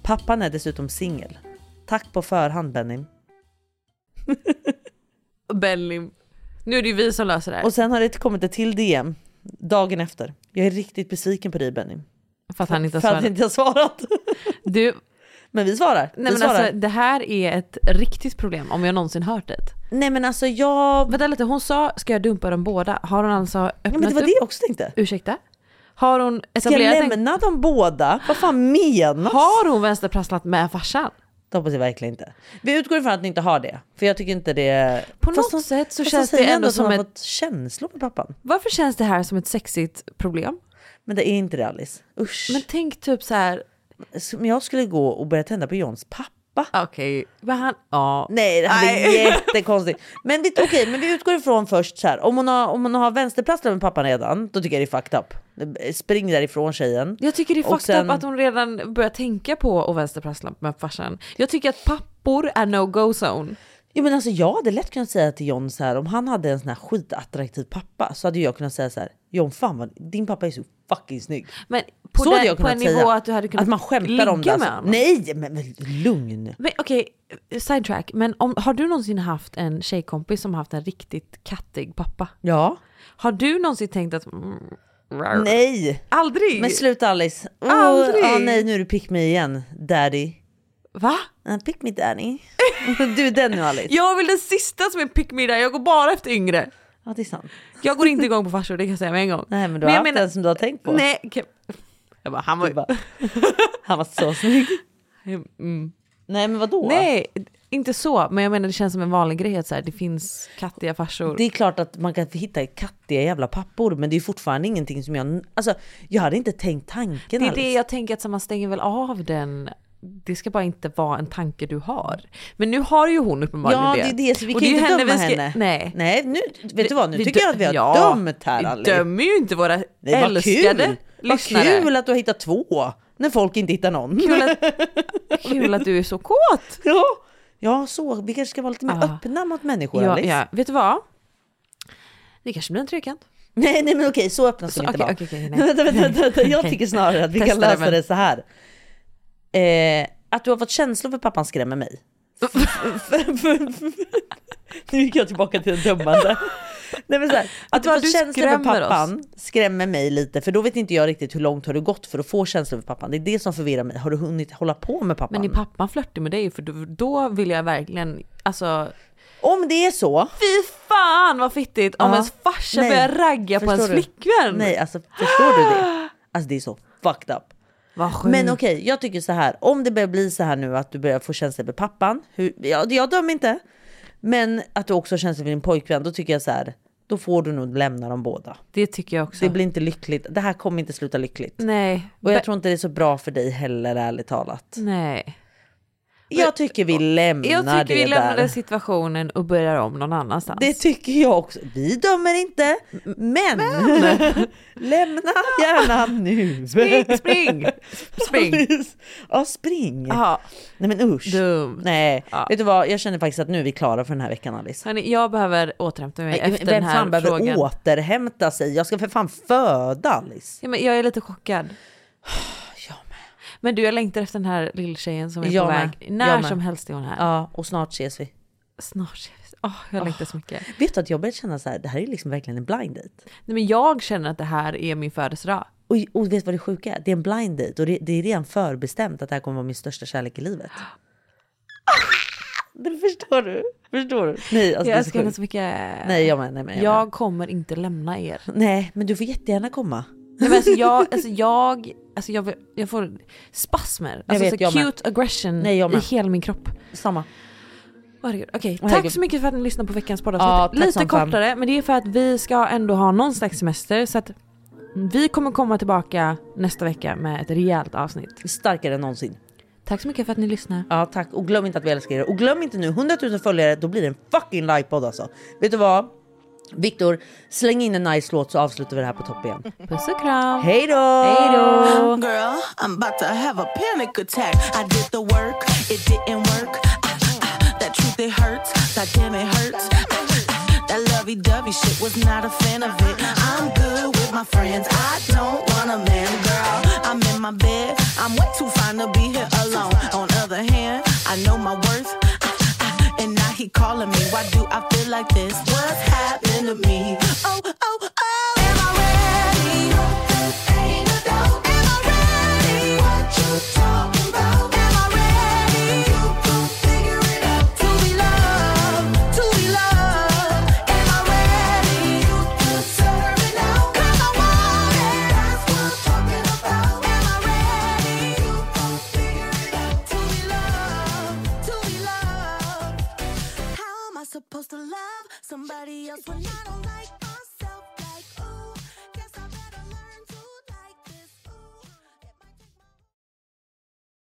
Speaker 1: Pappan är dessutom singel. Tack på förhand Benny.
Speaker 2: Bellim. Nu är det ju vi som löser det här.
Speaker 1: Och sen har det kommit ett till DM dagen efter. Jag är riktigt besviken på dig Benny.
Speaker 2: För att han inte har
Speaker 1: För att
Speaker 2: svarat.
Speaker 1: inte har svarat.
Speaker 2: Du...
Speaker 1: Men vi svarar.
Speaker 2: Nej
Speaker 1: vi
Speaker 2: men
Speaker 1: svarar.
Speaker 2: alltså det här är ett riktigt problem om jag någonsin hört det.
Speaker 1: Nej men alltså jag...
Speaker 2: Vänta lite, hon sa ska jag dumpa dem båda? Har hon alltså öppnat
Speaker 1: men det var
Speaker 2: upp?
Speaker 1: det jag också tänkte.
Speaker 2: Ursäkta? Har hon
Speaker 1: Ska jag
Speaker 2: etablerat en-
Speaker 1: lämna dem båda? Vad fan menas?
Speaker 2: Har hon vänsterprasslat med farsan?
Speaker 1: Det hoppas jag verkligen inte. Vi utgår ifrån att ni inte har det. För jag tycker inte det...
Speaker 2: På något sätt så
Speaker 1: fast
Speaker 2: känns
Speaker 1: säger
Speaker 2: det
Speaker 1: jag
Speaker 2: ändå
Speaker 1: att hon har
Speaker 2: som ett-
Speaker 1: fått känslor med pappan.
Speaker 2: Varför känns det här som ett sexigt problem?
Speaker 1: Men det är inte det Alice. Usch. Men
Speaker 2: tänk typ så här...
Speaker 1: Jag skulle gå och börja tända på Johns pappa.
Speaker 2: Okej. Men han... Ja.
Speaker 1: Nej, det här blir
Speaker 2: Nej.
Speaker 1: [laughs] jättekonstigt. Men vi, okej, men vi utgår ifrån först så här. Om hon har, om hon har vänsterprasslat med pappan redan, då tycker jag det är fucked up. Spring därifrån tjejen.
Speaker 2: Jag tycker det är
Speaker 1: Och
Speaker 2: fucked
Speaker 1: sen-
Speaker 2: up att hon redan börjar tänka på att vänsterprassla med farsan. Jag tycker att pappor är no-go zone.
Speaker 1: Jo men alltså jag hade lätt kunnat säga till John så här om han hade en sån här skitattraktiv pappa så hade jag kunnat säga så här John fan vad, din pappa är så fucking snygg.
Speaker 2: Men på
Speaker 1: så
Speaker 2: den-
Speaker 1: hade jag
Speaker 2: på
Speaker 1: kunnat
Speaker 2: en nivå
Speaker 1: säga.
Speaker 2: att du hade kunnat
Speaker 1: Att man skämtar om det
Speaker 2: ligga
Speaker 1: alltså.
Speaker 2: med honom.
Speaker 1: Nej men, men lugn.
Speaker 2: Men okej, sidetrack. Men om, har du någonsin haft en tjejkompis som haft en riktigt kattig pappa?
Speaker 1: Ja.
Speaker 2: Har du någonsin tänkt att... Mm, rar.
Speaker 1: Nej.
Speaker 2: Aldrig.
Speaker 1: Men sluta Alice. Åh,
Speaker 2: Aldrig.
Speaker 1: ah, nej nu är du pick me igen daddy. Uh,
Speaker 2: Va?
Speaker 1: pick me daddy. [laughs] du är den nu Alice.
Speaker 2: Jag vill den sista som är pick me där. jag går bara efter yngre.
Speaker 1: Ja det är sant.
Speaker 2: Jag går inte igång på farsor, det kan jag säga med en gång.
Speaker 1: Nej men du
Speaker 2: Men
Speaker 1: har
Speaker 2: jag
Speaker 1: haft
Speaker 2: menar-
Speaker 1: den som du har tänkt på.
Speaker 2: Nej, okej. jag bara,
Speaker 1: [laughs]
Speaker 2: han var ju...
Speaker 1: Han var så snygg.
Speaker 2: [laughs] Mm.
Speaker 1: Nej men vadå?
Speaker 2: Nej, Inte så, men jag menar det känns som en vanlig grej att så här, det finns kattiga farsor.
Speaker 1: Det är klart att man kan hitta kattiga jävla pappor men det är fortfarande ingenting som jag... Alltså jag hade inte tänkt tanken
Speaker 2: Det är
Speaker 1: alls.
Speaker 2: det jag tänker att så man stänger väl av den. Det ska bara inte vara en tanke du har. Men nu har ju hon uppenbarligen
Speaker 1: Ja,
Speaker 2: det.
Speaker 1: det är det, så vi
Speaker 2: Och
Speaker 1: kan
Speaker 2: det
Speaker 1: inte
Speaker 2: är ju
Speaker 1: döma
Speaker 2: vi ska-
Speaker 1: henne.
Speaker 2: Nej.
Speaker 1: Nej, nu, vet du vad, nu
Speaker 2: Vi
Speaker 1: tycker
Speaker 2: dö-
Speaker 1: jag att vi har
Speaker 2: Ja,
Speaker 1: dömt här
Speaker 2: Vi
Speaker 1: Ali.
Speaker 2: dömer ju inte våra
Speaker 1: Nej, vad
Speaker 2: älskade
Speaker 1: kul. Vad
Speaker 2: lyssnare.
Speaker 1: kul att du har hittat två när folk inte hittar någon.
Speaker 2: Kul att, kul att du är så kåt.
Speaker 1: Ja, [laughs] ja så. Vi kanske ska vara lite mer öppna mot människor
Speaker 2: Ja,
Speaker 1: Alice.
Speaker 2: ja. Vet du vad? Det kanske blir en trekant.
Speaker 1: Nej, nej men okej, så öppna ska
Speaker 2: Så-
Speaker 1: vi inte
Speaker 2: okej,
Speaker 1: vara.
Speaker 2: okej, okej, nej.
Speaker 1: [laughs] vänta, vänta, vänta, vänta. Jag
Speaker 2: [laughs] Okej.
Speaker 1: tycker snarare att vi kan
Speaker 2: Testa det,
Speaker 1: lösa
Speaker 2: men-
Speaker 1: det så här. Eh, att du har fått känslor för pappan skrämmer mig. [laughs] nu gick jag tillbaka till det dömande. Nej, men så här, att du
Speaker 2: vad
Speaker 1: har fått
Speaker 2: du
Speaker 1: känslor för
Speaker 2: skrämmer oss.
Speaker 1: pappan skrämmer mig lite för då vet inte jag riktigt hur långt har du gått för att få känslor för pappan. Det är det som förvirrar mig. Har du hunnit hålla på med pappan?
Speaker 2: Men är pappan flörtig med dig? För då, då vill jag verkligen, alltså
Speaker 1: Om det är så.
Speaker 2: Fy fan vad fittigt om
Speaker 1: Ja.
Speaker 2: ens farsa
Speaker 1: Nej.
Speaker 2: börjar ragga på
Speaker 1: Förstår
Speaker 2: ens
Speaker 1: du?
Speaker 2: flickvän.
Speaker 1: Nej, alltså förstår du
Speaker 2: [gasps]
Speaker 1: det? Alltså det är så fucked up. Men okej, jag tycker så här. Om det börjar bli så här nu att du börjar få känslor för pappan. Hur, jag, jag dömer inte. Men att du också har känslor för din pojkvän. Då tycker jag så här. Då får du nog lämna dem båda.
Speaker 2: Det tycker jag också.
Speaker 1: Det blir inte lyckligt. Det här kommer inte sluta lyckligt.
Speaker 2: Nej.
Speaker 1: Och jag
Speaker 2: Be-
Speaker 1: tror inte det är så bra för dig heller ärligt talat.
Speaker 2: Nej.
Speaker 1: Jag tycker vi lämnar
Speaker 2: Mm. Jag tycker
Speaker 1: Mm, det
Speaker 2: vi lämnar
Speaker 1: där.
Speaker 2: situationen och börjar om någon annanstans.
Speaker 1: Det tycker jag också. Vi dömer inte, men, [laughs] lämna gärna nu. [laughs]
Speaker 2: Spring, spring, spring.
Speaker 1: ja, spring.
Speaker 2: Ja.
Speaker 1: Nej men usch.
Speaker 2: Dumt.
Speaker 1: Nej, vet du vad? Jag känner faktiskt att nu är vi klara för den här veckan Alice.
Speaker 2: Hörni, jag behöver återhämta mig
Speaker 1: Nej,
Speaker 2: efter
Speaker 1: Vem
Speaker 2: den här
Speaker 1: fan behöver
Speaker 2: frågan.
Speaker 1: återhämta sig? Jag ska för fan föda Alice.
Speaker 2: Ja, men jag är
Speaker 1: [sighs]
Speaker 2: lite chockad. Jag med. Men du, jag längtar efter den här lilltjejen som är
Speaker 1: Jag
Speaker 2: på
Speaker 1: med.
Speaker 2: väg.
Speaker 1: Jag
Speaker 2: När
Speaker 1: med.
Speaker 2: som helst är hon här.
Speaker 1: Ja, och snart ses vi.
Speaker 2: Snart ser vi. Åh, jag längtar så mycket.
Speaker 1: Vet du att jag börjar känna så här, det här är liksom verkligen en blind date.
Speaker 2: Nej, men jag känner att det här är min födelsedag.
Speaker 1: Och, och vet du vad det sjuka är? Det är en blind date och det, det är redan förbestämt att det här kommer vara min största kärlek i livet. [gasps] Det förstår du? Förstår du? Nej, alltså
Speaker 2: jag
Speaker 1: det är
Speaker 2: älskar henne
Speaker 1: sjukt.
Speaker 2: så mycket.
Speaker 1: Nej, jag med, nej, men jag
Speaker 2: jag kommer inte lämna er.
Speaker 1: Nej, men du får jättegärna komma.
Speaker 2: Nej, men alltså jag, alltså jag, alltså jag, jag får spasmer.
Speaker 1: Jag
Speaker 2: Alltså
Speaker 1: vet,
Speaker 2: så
Speaker 1: jag med.
Speaker 2: cute aggression
Speaker 1: Nej, jag
Speaker 2: i
Speaker 1: med.
Speaker 2: hela min kropp.
Speaker 1: Samma.
Speaker 2: Åh, herregud. Okej,
Speaker 1: Åh,
Speaker 2: tack
Speaker 1: herregud.
Speaker 2: så mycket för att ni lyssnade på veckans
Speaker 1: Ja,
Speaker 2: poddavsnitt.
Speaker 1: tack
Speaker 2: Lite
Speaker 1: som fan.
Speaker 2: kortare, men det är för att vi ska ändå ha någon slags semester så att vi kommer komma tillbaka nästa vecka med ett rejält avsnitt.
Speaker 1: Starkare än någonsin.
Speaker 2: Tack så mycket för att ni lyssnar.
Speaker 1: Ja tack och glöm inte att vi älskar er. Och glöm inte nu 100 000 följare då blir det en fucking livepodd alltså. Vet du vad? Viktor släng in en nice låt så avslutar vi det här på topp igen.
Speaker 2: Puss och kram!
Speaker 1: Hej då!
Speaker 2: Hej då!
Speaker 8: Girl, I'm about to have a panic attack. I did the work, it didn't work. Ah, ah, that truth, it hurts. That damn, it hurts. Ah, ah, that lovey dovey shit was not a fan of it. I'm good with my friends. I don't want a man, girl. I'm in my bed. I'm way too fine to be here alone. On other hand, I know my worth. [laughs] Ah, ah, and now he calling me. Why do I feel like this? What's happening to me? Oh, oh, oh. Am I ready? Supposed to love somebody else when I don't